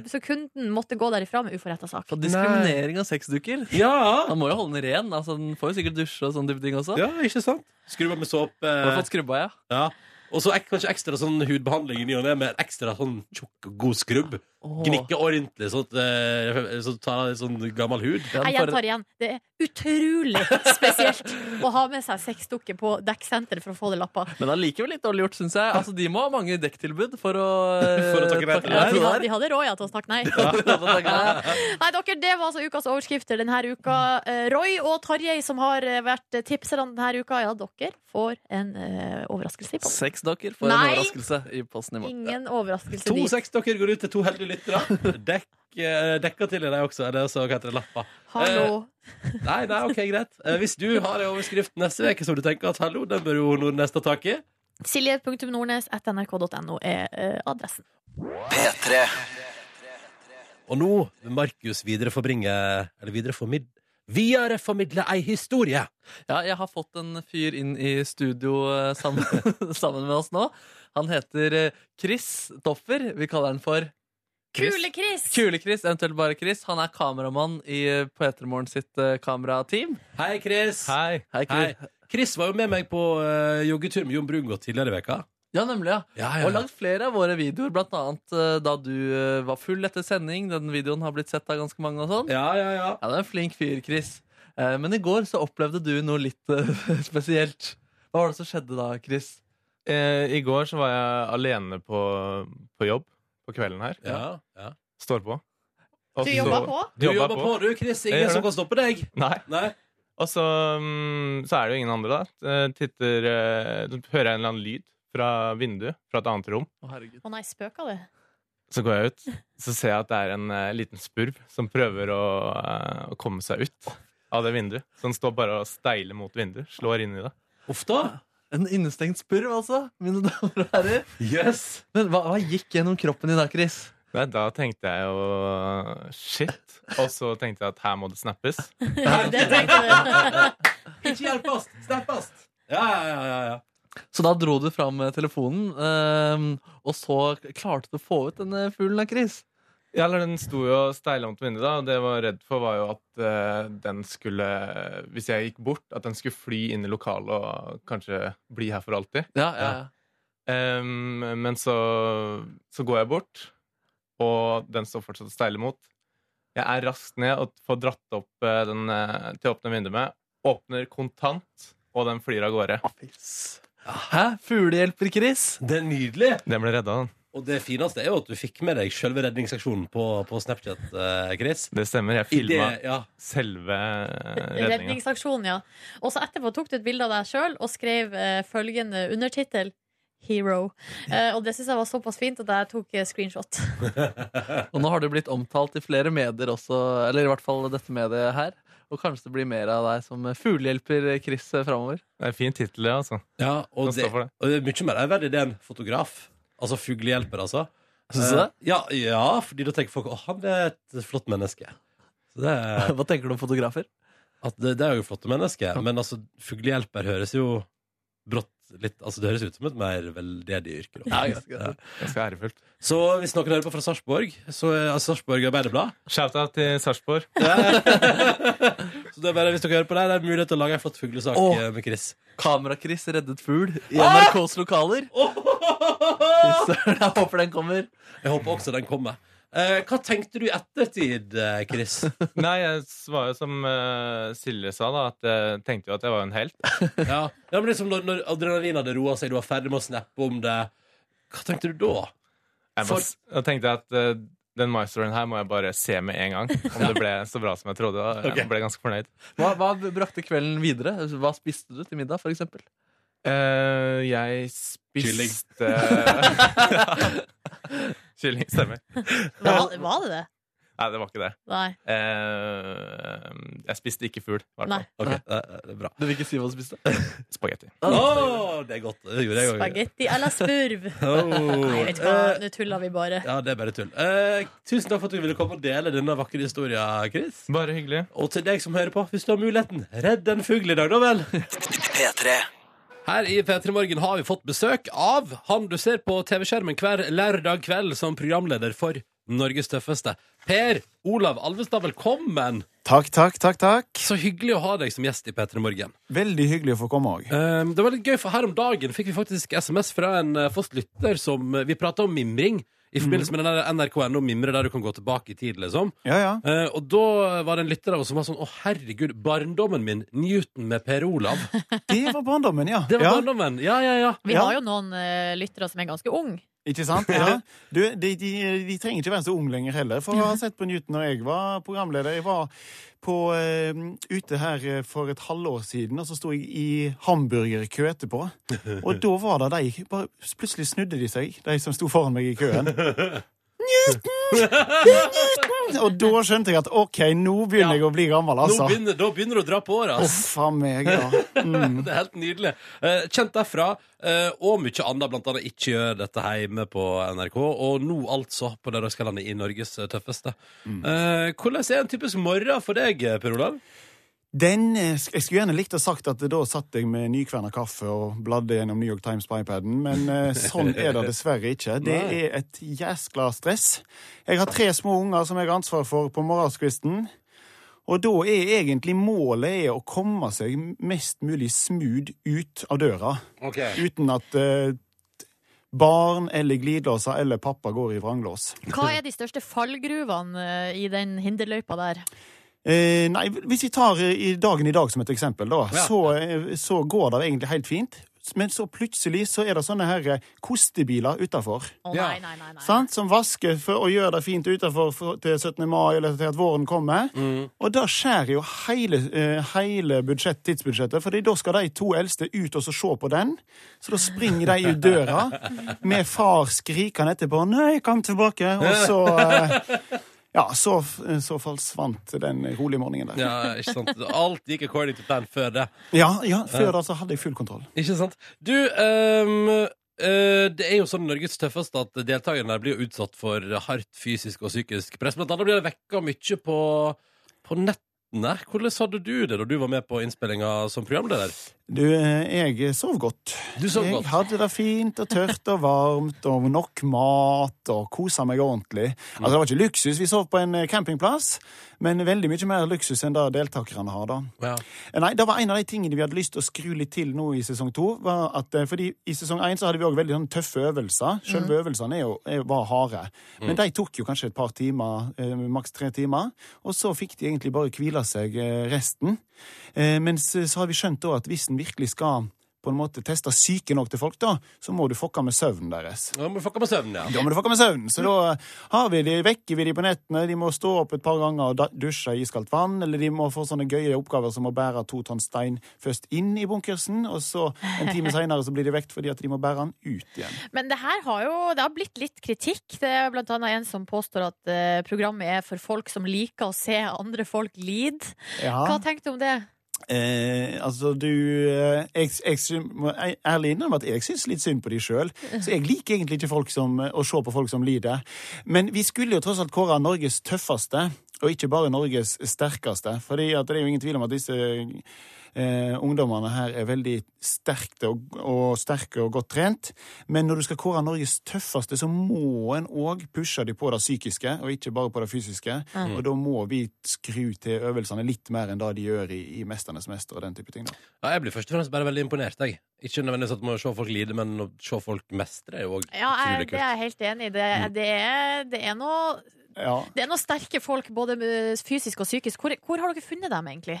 Speaker 2: så kunden måtte gå derifra med uforretta sak.
Speaker 3: Så diskriminering av sexdukker.
Speaker 1: Ja!
Speaker 3: Han må jo holde den ren. altså Den får jo sikkert dusje og sånn type ting også.
Speaker 1: ja, ikke sant? Skrubba med såpe.
Speaker 3: Har fått skrubba, ja.
Speaker 1: Ja. Og så ek- kanskje ekstra sånn hudbehandling i ny og ne med ekstra sånn tjukk og god skrubb.
Speaker 3: Åh.
Speaker 1: Gnikke ordentlig, sånn at eh, så tar jeg sånn gammel hud.
Speaker 3: Ja,
Speaker 2: Jeg
Speaker 3: den får-
Speaker 2: gjentar igjen. Det er utrolig spesielt å ha med seg sexdukker på dekksenteret for å få det lappa.
Speaker 3: Men allikevel litt dårlig gjort, syns jeg. Altså, De må ha mange dekktilbud for å eh,
Speaker 1: For å takke nei til
Speaker 2: Ja,
Speaker 1: det
Speaker 2: de,
Speaker 3: til det
Speaker 2: hadde, de hadde råd ja, til å snakke nei.
Speaker 3: her.
Speaker 2: Nei, dere, Det var altså ukas overskrifter denne uka. Eh, Roy og Tarjei, som har eh, vært tipserne denne uka, ja, dere får en eh, overraskelse i posten.
Speaker 3: Sexdokker får en
Speaker 2: Nei.
Speaker 3: overraskelse i posten i morgen.
Speaker 2: Ingen overraskelse
Speaker 1: To
Speaker 2: dit.
Speaker 1: sexdokker går ut til to heldige lyttere. Dekk, eh, dekka til i deg også. Er det så hva heter det, lappa?
Speaker 8: Eh.
Speaker 2: Hallo.
Speaker 1: Nei, nei, ok, greit. Eh, Hvis du har en overskrift neste uke som du tenker at hallo, den bør jo Nordnes ta tak i.
Speaker 2: Silje.nordnes.nrk.no er eh, adressen.
Speaker 1: Og nå vil Markus videreforbringe Eller videreformid, videreformidle ei historie.
Speaker 3: Ja, jeg har fått en fyr inn i studio eh, sammen, sammen med oss nå. Han heter eh, Chris Toffer. Vi kaller han for
Speaker 2: Kule-Chris!
Speaker 3: Kule-Chris, eventuelt bare Chris. Han er kameramann i eh, P3morgen sitt eh, kamerateam.
Speaker 1: Hei, Chris.
Speaker 5: Hei.
Speaker 3: Hei, Chris.
Speaker 1: Hei. Chris var jo med meg på eh, joggetur med Jon Brungot tidligere i veka
Speaker 3: Ja, nemlig, ja.
Speaker 1: Ja,
Speaker 3: Og lagd flere av våre videoer, blant annet eh, da du eh, var full etter sending. Den videoen har blitt sett av ganske mange og sånn.
Speaker 1: ja, ja, ja.
Speaker 3: Ja, det er en flink fyr, Chris. Eh, Men i går så opplevde du noe litt eh, spesielt. Hva var det som skjedde da, Chris?
Speaker 8: Eh, I går så var jeg alene på, på jobb på kvelden her.
Speaker 1: ja, ja.
Speaker 8: Står på. Og
Speaker 2: Du
Speaker 8: så-
Speaker 2: jobba på?
Speaker 1: Du jobber på, du, Chris.
Speaker 8: Jeg
Speaker 1: Ingen
Speaker 8: gjør
Speaker 1: som
Speaker 8: det.
Speaker 1: kan stoppe deg.
Speaker 8: Nei.
Speaker 1: Nei.
Speaker 8: Og så, mm, så er det jo ingen andre, da. Eh, Titter, eh, hører jeg en eller annen lyd fra vinduet fra et annet rom.
Speaker 3: Å, herregud.
Speaker 2: Å nei, spøka det?
Speaker 8: Så går jeg ut, så ser jeg at det er en eh, liten spurv som prøver å, eh, å komme seg ut av det vinduet. Så den står bare og steiler mot vinduet. Slår inn i det.
Speaker 1: Uff da.
Speaker 3: En innestengt spurv, altså, mine damer og herrer.
Speaker 1: Yes.
Speaker 3: Men hva, hva gikk gjennom kroppen din da, Chris?
Speaker 8: Nei, da tenkte jeg jo eh, shit. Og så tenkte jeg at her må det snappes.
Speaker 2: Ja, det tenkte jeg.
Speaker 1: Ikke hjelpast. Snappast. Ja, ja, ja, ja, ja.
Speaker 3: Så da dro du fram eh, telefonen, eh, og så klarte du å få ut denne fuglen da, Chris.
Speaker 8: Ja, eller Den sto jo og steila mot vinduet, da, og det jeg var redd for, var jo at eh, den skulle Hvis jeg gikk bort, at den skulle fly inn i lokalet og kanskje bli her for alltid.
Speaker 3: Ja, ja, ja.
Speaker 8: Em, men så, så går jeg bort, og den står fortsatt og steiler mot. Jeg er raskt ned og får dratt opp eh, den eh, til å åpne vinduet med. Åpner kontant, og den flyr av gårde.
Speaker 1: Ah.
Speaker 3: Hæ? Fuglehjelper Chris?
Speaker 1: Det er nydelig.
Speaker 8: Den ble redda, den.
Speaker 1: Og det fineste er jo at du fikk med deg selve redningsseksjonen på, på Snapchat, eh, Chris.
Speaker 8: Det stemmer. Jeg
Speaker 1: I det,
Speaker 8: filma
Speaker 1: ja.
Speaker 8: selve eh, redninga.
Speaker 2: Redningsaksjon, ja. Og så etterpå tok du et bilde av deg sjøl og skrev eh, følgende undertittel. Hero. Eh, og det syns jeg var såpass fint at jeg tok eh, screenshot.
Speaker 3: Og nå har du blitt omtalt i flere medier også, eller i hvert fall dette mediet her. Og kanskje det blir mer av deg som fuglehjelper Chris framover.
Speaker 8: Det er en fin tittel, det, altså.
Speaker 1: ja og,
Speaker 8: Den
Speaker 1: det,
Speaker 8: står for det.
Speaker 1: og det er mye mer ærverdig det enn fotograf. Altså fuglehjelper, altså.
Speaker 3: Syns du det?
Speaker 1: Eh, Ja, ja, fordi da tenker folk at han er et flott menneske. Så det, er-
Speaker 3: Hva tenker du om fotografer?
Speaker 1: at det, det er jo flotte mennesker. Men altså, fuglehjelper høres jo brått litt Altså, det høres ut som et mer veldedig yrke. Da.
Speaker 3: Ja, ganske det.
Speaker 1: Ja.
Speaker 8: Ganske ærefullt.
Speaker 1: Så hvis noen hører på fra Sarpsborg, så er altså, Sarpsborg Arbeiderblad
Speaker 8: Shout-out til Sarpsborg.
Speaker 1: Så det er bare hvis dere hører på der, det er mulighet til å lage en flott fuglesak
Speaker 3: Åh.
Speaker 1: eh, med Chris.
Speaker 3: Kamera-Chris reddet fugl i
Speaker 8: Ah!
Speaker 3: NRKs lokaler. Fy søren, Jeg håper den kommer.
Speaker 1: Jeg håper også den kommer. Eh, hva tenkte du i ettertid, eh, Chris?
Speaker 8: Nei, jeg var jo som eh, Silje sa, da, at jeg tenkte jo at jeg var en helt.
Speaker 1: Ja, ja men liksom når, når adrenalinet hadde roa seg, du var ferdig med å snappe om det, hva tenkte du da?
Speaker 8: Jeg
Speaker 1: For-
Speaker 8: må, s- da tenkte jeg at eh, den maestroen her må jeg bare se med en gang. Om det ble så bra som jeg trodde. Da. Jeg
Speaker 1: Ok.
Speaker 8: ble ganske fornøyd.
Speaker 3: Hva, hva brakte kvelden videre? Hva spiste du til middag, for eksempel?
Speaker 8: Eh, jeg
Speaker 1: Kylling.
Speaker 8: spiste Kylling, stemmer.
Speaker 2: Var, var det det?
Speaker 8: Nei, det var ikke det.
Speaker 2: Nei.
Speaker 8: Eh, jeg spiste ikke fugl. i hvert fall.
Speaker 2: Nei.
Speaker 1: Ok, det, det er bra.
Speaker 3: Du vil ikke si hva du spiste?
Speaker 8: Spagetti.
Speaker 1: Å, det er godt. Det Eh, gjorde jeg òg.
Speaker 2: Spagetti eller spurv? Nei, vet du hva, nå tuller vi bare.
Speaker 1: Ja, det er bare tull. Eh, tusen takk for at du ville komme og dele denne vakre historien, Chris.
Speaker 8: Bare hyggelig.
Speaker 1: Og til deg som hører på, hvis du har muligheten, redd en fugl i dag, da vel. Her i P3 Morgen har vi fått besøk av han du ser på TV-skjermen hver lørdag kveld som programleder for Norges tøffeste. Per Olav Alvestad, velkommen!
Speaker 9: Takk, takk, takk, takk.
Speaker 1: Så hyggelig å ha deg som gjest i P3 Morgen.
Speaker 9: Veldig hyggelig å få komme òg.
Speaker 1: Um, det var litt gøy, for her om dagen fikk vi faktisk SMS fra en eh, fast lytter som eh, Vi prata om mimring i forbindelse med den der NRK.no mimre der du kan gå tilbake i tid, liksom.
Speaker 9: Ja, ja.
Speaker 1: Eh, og da var det en lytter av oss som var sånn Å, herregud, barndommen min, Newton med Per Olav.
Speaker 9: Det var barndommen, ja.
Speaker 1: Det var
Speaker 9: ja.
Speaker 1: barndommen. Ja, ja, ja.
Speaker 2: Vi
Speaker 9: Ja.
Speaker 2: har jo noen eh, lyttere som er ganske unge.
Speaker 9: Ikke sant? Ja. Du, de, de, de trenger ikke være så ung lenger heller, for å ha sett på Newton når jeg var programleder. Jeg var på, eh, ute her eh, for et halvår siden, og så sto jeg i hamburgerkø etterpå. Og da var det de bare, Plutselig snudde de seg, de som sto foran meg i køen. Newton! Det er Newton! Og da skjønte jeg at OK, nå begynner jeg å bli gammel,
Speaker 1: Nå
Speaker 9: altså.
Speaker 1: begynner, da begynner du å dra på året, ass.
Speaker 9: Uff a meg, ja. Mm.
Speaker 1: Det er helt nydelig. Eh, kjent derfra, eh, og mye annet, blant annet ikke gjør dette hjemme på NRK, og nå altså på Lørdagskalenderen i Norges tøffeste.
Speaker 9: Mm.
Speaker 1: Eh, hvordan er en typisk morgen for deg, Per Olav?
Speaker 9: Den, eh, sk- Jeg skulle gjerne likt å sagt at da satt jeg med nykverna kaffe og bladde gjennom New York Times på iPaden, men eh, sånn er det dessverre ikke. Det
Speaker 1: Nei.
Speaker 9: er et jæskla stress. Jeg har tre små unger som jeg har ansvar for på morgenskvisten. Og da er egentlig målet er å komme seg mest mulig smooth ut av døra, uten at eh, barn eller glidelåser eller pappa går i vranglås.
Speaker 2: Hva er de største fallgruvene eh, i den hinderløypa der?
Speaker 9: Eh, nei, hvis vi tar eh, i dagen i dag som et eksempel, da,
Speaker 1: Ja.
Speaker 9: så, eh, så går det egentlig helt fint. Men så plutselig så er det sånne her eh, kostebiler utafor.
Speaker 2: Å
Speaker 1: Ja.
Speaker 2: nei, nei, nei. nei.
Speaker 9: Som vasker for å gjøre det fint utafor til 17. mai eller til at våren kommer. Og da skjærer jo hele, eh, hele budsjett, tidsbudsjettet, for da skal de to eldste ut og så se på den. Så da springer de ut døra med far skrikende etterpå 'Nei, kom tilbake!' Og så eh, Ja, så, eh, så forsvant den rolige morgenen der.
Speaker 1: Ja, ikke sant? Alt gikk according to plan før det.
Speaker 9: Ja, ja, før da så hadde jeg full kontroll.
Speaker 1: Ikke sant? Du, ehm, eh, det er jo sånn Norges tøffeste at deltakerne der blir jo utsatt for hardt fysisk og psykisk press. Blant annet blir det vekka mye på, på nettene. Hvordan hadde du det da du var med på innspillinga som programleder?
Speaker 9: Du, eh, jeg sov godt.
Speaker 1: Du sov
Speaker 9: jeg
Speaker 1: godt.
Speaker 9: hadde det fint og tørt og varmt og nok mat og kosa meg ordentlig. Altså, det var ikke luksus. Vi sov på en eh, campingplass, men veldig mye mer luksus enn det deltakerne har, da.
Speaker 1: Ja.
Speaker 9: Eh, Nei, det var en av de tingene vi hadde lyst til å skru litt til nå i sesong to. Var at, eh, fordi i sesong én så hadde vi òg veldig sånn tøffe øvelser. Selve øvelsene er jo, er, var harde.
Speaker 1: Mm.
Speaker 9: Men de tok jo kanskje et par timer, eh, maks tre timer. Og så fikk de egentlig bare hvile seg eh, resten. Eh, mens eh, så har vi skjønt da at hvis en virkelig skal på en måte teste syke nok til folk, da, så må du fucke med søvnen deres.
Speaker 1: Ja, men fucka med søvnen, ja.
Speaker 9: Da må du fucke med søvnen. Så da har vi de, vekker vi de på nettene. De må stå opp et par ganger og da- dusje i iskaldt vann. Eller de må få sånne gøye oppgaver som å bære to tonn stein først inn i bunkersen, og så en time seinere så blir de vekt fordi at de må bære den ut igjen.
Speaker 2: Men det her har jo det har blitt litt kritikk. Det er blant annet en som påstår at eh, programmet er for folk som liker å se andre folk lide. Hva
Speaker 9: Ja.
Speaker 2: tenker du om det?
Speaker 9: Eh, altså, du eh, jeg, jeg, syn- må jeg, ærlig innrømme at jeg syns litt synd på de sjøl. Så jeg liker eh, egentlig ikke folk som, å se på folk som lider. Men vi skulle jo tross alt kåre Norges tøffeste. og ikke bare Norges sterkeste. Fordi at det er jo ingen tvil om at disse eh, ungdommene her er veldig sterkte og, og sterke og godt trent. Men når du skal kåre Norges tøffeste, så må en òg pushe de på det psykiske, og ikke bare på det fysiske.
Speaker 2: Mm.
Speaker 9: Og da må vi skru til øvelsene litt mer enn det de gjør i, i 'Mesternes mester' og den type ting. da.
Speaker 1: Ja, jeg blir først og fremst bare veldig imponert. Jeg. Ikke nødvendigvis at man må se folk lide, men å se folk mestre er jo òg
Speaker 2: Ja, jeg,
Speaker 1: utrolig
Speaker 2: det
Speaker 1: kult. Mm.
Speaker 2: er jeg helt enig i. Det, det, er, det, er noe,
Speaker 9: Ja.
Speaker 2: det er noe sterke folk, både eh, fysisk og psykisk. Hvor, hvor har dere funnet dem, egentlig?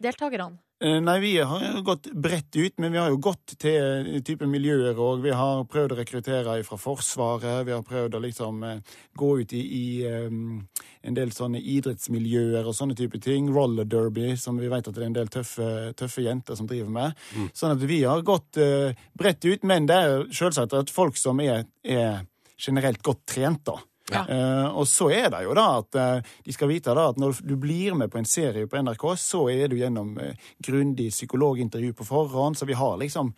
Speaker 2: Deltakerne?
Speaker 9: Eh, Nei, vi har jo gått bredt ut, men vi har jo gått til eh, type miljøer òg. Vi har prøvd å rekruttere fra Forsvaret, vi har prøvd å liksom eh, gå ut i, i eh, en del sånne idrettsmiljøer og sånne type ting. Roller derby, som vi vet at det er en del tøffe, tøffe jenter som driver med. Sånn at vi har gått eh, bredt ut, men det er jo selvsagt at folk som er, er generelt godt trent, da.
Speaker 2: Ja.
Speaker 9: Eh, og så er det jo da at eh, de skal vite da at når du blir med på en serie på NRK, så er du gjennom eh, grundig psykologintervju på forhånd, så vi har liksom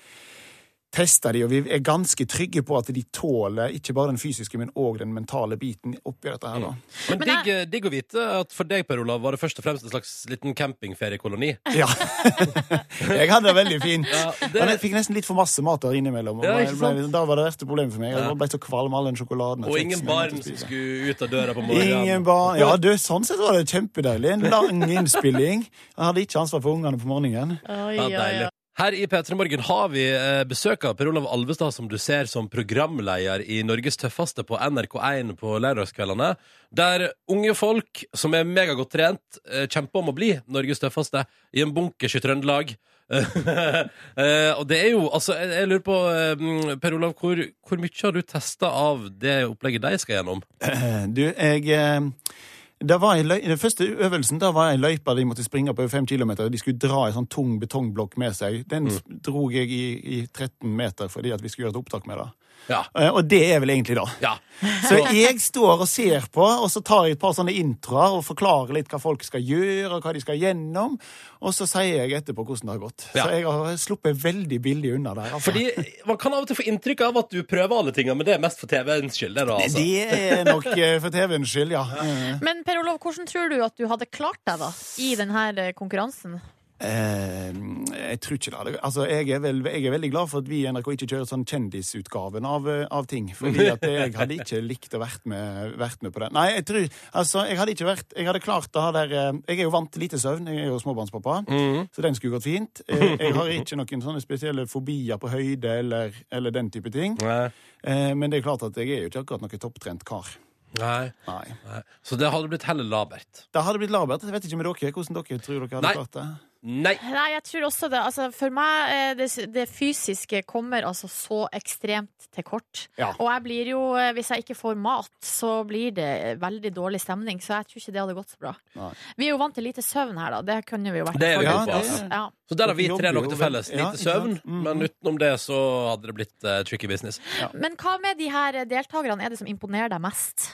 Speaker 9: testa de, og vi er ganske trygge på at de tåler ikke bare den fysiske, men òg den mentale biten oppi dette her, da.
Speaker 1: Men
Speaker 2: Men
Speaker 1: digg, digg å vite at for deg, Per Olav, var det først og fremst en slags liten campingferiekoloni.
Speaker 9: Ja. jeg hadde det veldig fint.
Speaker 1: Ja,
Speaker 9: Men
Speaker 1: det,
Speaker 9: jeg fikk nesten litt for masse mat der innimellom. Og
Speaker 1: Ja,
Speaker 9: jeg
Speaker 1: ikke
Speaker 9: ble,
Speaker 1: sant?
Speaker 9: da var det verste problemet for meg. Jeg ble så kvalm av all den sjokoladen. jeg
Speaker 1: og
Speaker 9: fikk
Speaker 1: ingen
Speaker 9: som jeg måtte
Speaker 1: barn som
Speaker 9: spise.
Speaker 1: skulle ut av døra på morgenen.
Speaker 9: Ingen barn. Ja, du, sånn sett var det kjempedeilig. En lang innspilling. Jeg hadde ikke ansvar for ungene på morgenen.
Speaker 2: Oi,
Speaker 1: Ja, deilig. Her i P3 Morgen har vi eh, besøk av Per Olav Alvestad, som du ser som programleder i Norges tøffeste på NRK1 på lørdagskveldene. Der unge folk som er megagodt trent, eh, kjemper om å bli Norges tøffeste i en bunkers i Trøndelag. Eh, og det er jo Altså, jeg, jeg lurer på, eh, Per Olav, hvor, hvor mye har du testa av det opplegget de skal gjennom?
Speaker 9: Eh, Du, jeg eh, det var en løy, Den første øvelsen da var en løype de måtte springe på over fem kilometer. De skulle dra en sånn tung betongblokk med seg. Den s-
Speaker 1: Mm.
Speaker 9: dro jeg i, i 13 meter fordi at vi skulle gjøre et opptak med det.
Speaker 1: Ja.
Speaker 9: Eh, Og det er vel egentlig det.
Speaker 1: ja.
Speaker 9: Så jeg står og ser på, og så tar jeg et par sånne introer og forklarer litt hva folk skal gjøre, og hva de skal gjennom, og så sier jeg etterpå hvordan det har gått.
Speaker 1: Ja.
Speaker 9: Så jeg har sluppet veldig billig unna der. Altså.
Speaker 1: Fordi Man kan av og til få inntrykk av at du prøver alle tinga, men det er mest for TV-ens skyld. det da, altså.
Speaker 9: Det er nok eh, for TV-ens skyld, ja. Eh,
Speaker 2: Men Per Olav, hvordan tror du at du hadde klart deg da i denne konkurransen?
Speaker 9: Eh, jeg tror ikke det. hadde- Altså, jeg er, vel, jeg er veldig glad for at vi i NRK ikke kjører sånn kjendisutgaven av, eh, av ting. Fordi at jeg hadde ikke likt å vært med, vært med på det. Nei, jeg tror Altså, jeg hadde ikke vært Jeg hadde klart det her der eh, Jeg er jo vant til lite søvn. Jeg er jo småbarnspappa. Så den skulle gått fint. Eh, Jeg har ikke noen sånne spesielle fobier på høyde eller, eller den type ting.
Speaker 1: Nei.
Speaker 9: Eh, Men det er klart at jeg er jo ikke akkurat noen topptrent kar.
Speaker 1: Nei.
Speaker 9: Nei.
Speaker 1: Nei. Så det hadde blitt heller labert.
Speaker 9: Det hadde blitt labert. Jeg vet ikke med dere hvordan dere tror dere hadde
Speaker 1: Nei.
Speaker 9: klart det.
Speaker 1: Nei.
Speaker 2: Nei, jeg tror også det. Altså, for meg, eh, det, det fysiske kommer altså så ekstremt til kort.
Speaker 9: Ja.
Speaker 2: Og jeg blir jo, eh, hvis jeg ikke får mat, så blir det veldig dårlig stemning. Så jeg tror ikke det hadde gått så bra.
Speaker 9: Nei.
Speaker 2: Vi er jo vant til lite søvn her, da. Det kunne vi jo vært.
Speaker 1: Det er vi
Speaker 9: Ja,
Speaker 1: på,
Speaker 9: det-
Speaker 1: altså.
Speaker 2: Ja.
Speaker 1: Så der har vi
Speaker 9: Dere
Speaker 1: tre
Speaker 9: jobber
Speaker 1: noe
Speaker 9: jo
Speaker 1: til felles.
Speaker 9: veldig- ja,
Speaker 1: Lite
Speaker 9: ikke
Speaker 1: søvn,
Speaker 9: sant? Mm.
Speaker 1: men utenom det så hadde det blitt eh, tricky business.
Speaker 2: Men hva med de her deltakerne er det som imponerer deg mest?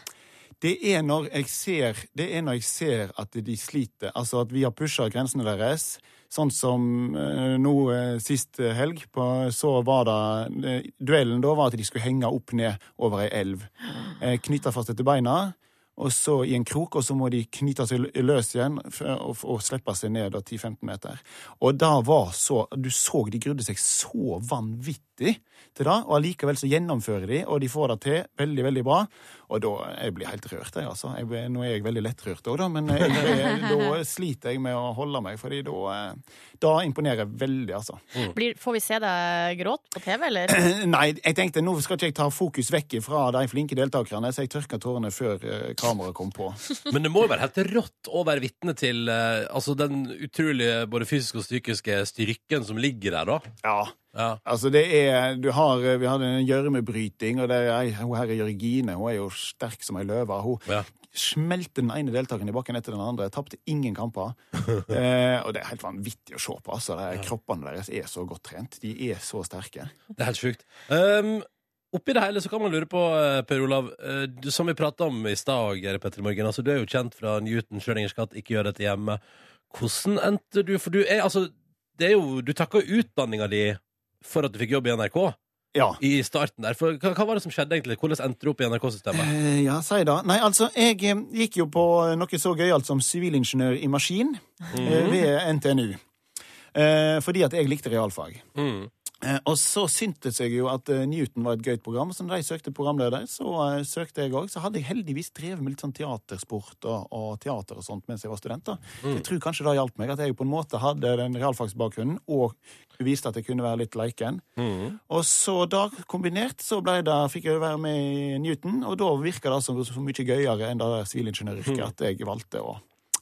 Speaker 9: Det er når jeg ser, det er når jeg ser at de sliter, altså at vi har pusha grensene deres. Sånn som eh, nå eh, sist eh, helg, på, så var det eh, Duellen da var at de skulle henge opp ned over ei elv. Eh, knytte fast etter beina, og så i en krok, og så må de knyte seg lø- løs igjen f- og, og slippe seg ned da 10-15 meter. Og da var så Du så de grudde seg så vanvittig til det, og allikevel så gjennomfører de, og de får det til veldig, veldig bra. Og da Jeg blir helt rørt, jeg, altså. Jeg, blir- nå er jeg veldig lettrørt òg, da, men jeg, da sliter jeg med å holde meg, fordi da, eh, da imponerer jeg veldig, altså.
Speaker 1: Mm.
Speaker 9: Eh,
Speaker 2: Blir, får vi se deg gråte på TV, eller?
Speaker 9: Nei, jeg tenkte nå skal ikke jeg ta fokus vekk fra de flinke deltakerne, så jeg tørka tårene før eh, kameraet kom på.
Speaker 1: Men det må jo være helt rått å være vitne til eh, altså den utrolige både fysiske og psykiske styrken som ligger der, da.
Speaker 9: Ja.
Speaker 1: Ja.
Speaker 9: Altså, det er Du har Vi hadde en gjørmebryting, og det er, ei- hun her er Jørgine. Hun er jo sterk som ei løve. Hun
Speaker 1: Ja.
Speaker 9: smelte den ene deltakeren i bakken etter den andre. Tapte ingen kamper. eh, og det er helt vanvittig å se på. Altså. Det er, kroppene deres er så godt trent. De er så sterke.
Speaker 1: Det er helt sjukt. Um, oppi det hele så kan man lure på, eh, Per Olav, eh, du, som vi prata om i stad, og Geri Petter Morgen, altså, du er jo kjent fra Newton, Schrødingers katt, ikke gjør dette hjemme. Hvordan endte du For du er altså det er jo, Du takka utdanninga di for at du fikk jobb i NRK.
Speaker 9: Ja.
Speaker 1: i starten der. For hva, hva var det som skjedde egentlig? Hvordan endte du opp i NRK-systemet?
Speaker 9: Eh, Ja, si da. Nei, altså, jeg eh, gikk jo på noe så gøyalt som sivilingeniør i maskin eh, ved NTNU. Eh, Fordi at jeg likte realfag.
Speaker 1: Mm.
Speaker 9: Eh, Og så syntes jeg jo at eh, Newton var et gøyt program, så når de søkte programleder, så eh, søkte jeg òg. Så hadde jeg heldigvis drevet med litt sånn teatersport og, og teater og sånt mens jeg var student. da. Så Jeg tror kanskje det hjalp meg, at jeg på en måte hadde den realfagsbakgrunnen og viste at jeg kunne være litt leiken. Og så da kombinert så ble det, fikk jeg jo være med i Newton, og da virka det som så mye gøyere enn det der sivilingeniøryrket at jeg valgte å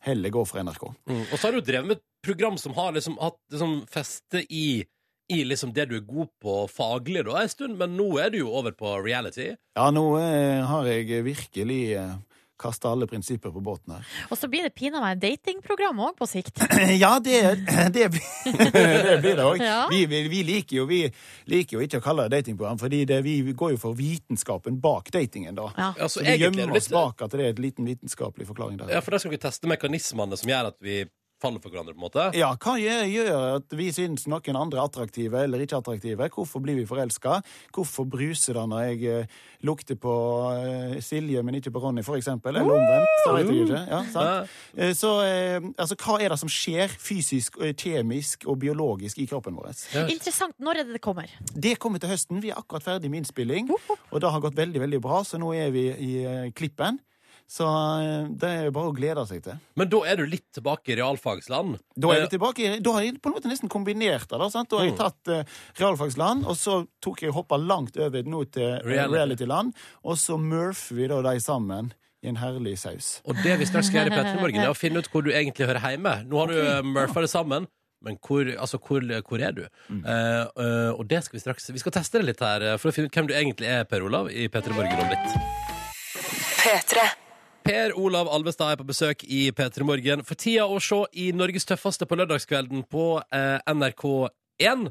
Speaker 9: heller gå for NRK.
Speaker 1: Mm. Og så har du drevet med et program som har liksom hatt liksom feste i i liksom det du er god på faglig da en stund, men nå er du jo over på reality.
Speaker 9: Ja, nå eh, har jeg virkelig eh, kasta alle prinsipper på båten her.
Speaker 2: Og så blir det pinadø meg datingprogram òg på sikt.
Speaker 9: Ja, det, det, blir- det blir det òg.
Speaker 2: Ja.
Speaker 9: Vi, vi, vi, liker jo- vi liker jo ikke å kalle det datingprogram, fordi det, vi går jo for vitenskapen bak datingen, da.
Speaker 2: Ja.
Speaker 1: Altså,
Speaker 9: Så vi
Speaker 1: egentlig er
Speaker 9: gjemmer
Speaker 1: det
Speaker 9: oss
Speaker 1: litt-
Speaker 9: bak at det er en liten vitenskapelig forklaring der.
Speaker 1: Ja, for der skal vi teste mekanismene som gjør at vi faller for hverandre, på en måte.
Speaker 9: Ja, hva gjør, gjør at vi syns noen andre er attraktive eller ikke attraktive? Hvorfor blir vi forelska? Hvorfor bruser det når jeg eh, lukter på eh, Silje, men ikke på Ronny, for eksempel? Eller omvendt. Så vet jeg ikke. Ja, sant? Eh, Så eh, altså, hva er det som skjer fysisk, eh, kjemisk og biologisk i kroppen vår?
Speaker 2: Interessant. Når er det det kommer?
Speaker 9: Det kommer til høsten. Vi er akkurat ferdig med innspilling, og det har gått veldig, veldig bra, så nå er vi i eh, klippen. Så eh, det er bare å glede seg til.
Speaker 1: Men da er du litt tilbake i realfagsland.
Speaker 9: Da er
Speaker 1: Eh,
Speaker 9: vi tilbake i- Da har jeg på en måte nesten kombinert det. Da, sant? da har jeg tatt eh, realfagsland, og så tok jeg hoppa langt over nå til eh,
Speaker 1: Reality.
Speaker 9: realityland, og så murfer vi da de sammen i en herlig saus.
Speaker 1: Og det vi straks skal gjøre i Petter i morgen, er å finne ut hvor du egentlig hører hjemme. Nå har du okay. murfa det sammen, men hvor, altså, hvor, hvor er du? Eh, eh, og det skal vi straks Vi skal teste det litt her, eh, for å finne ut hvem du egentlig er, Per Olav, i Petter i morgen om litt.
Speaker 7: P3.
Speaker 1: Per Olav Alvestad er på besøk i P3 Morgen for tida å se i Norges tøffeste på lørdagskvelden på eh, NRK1.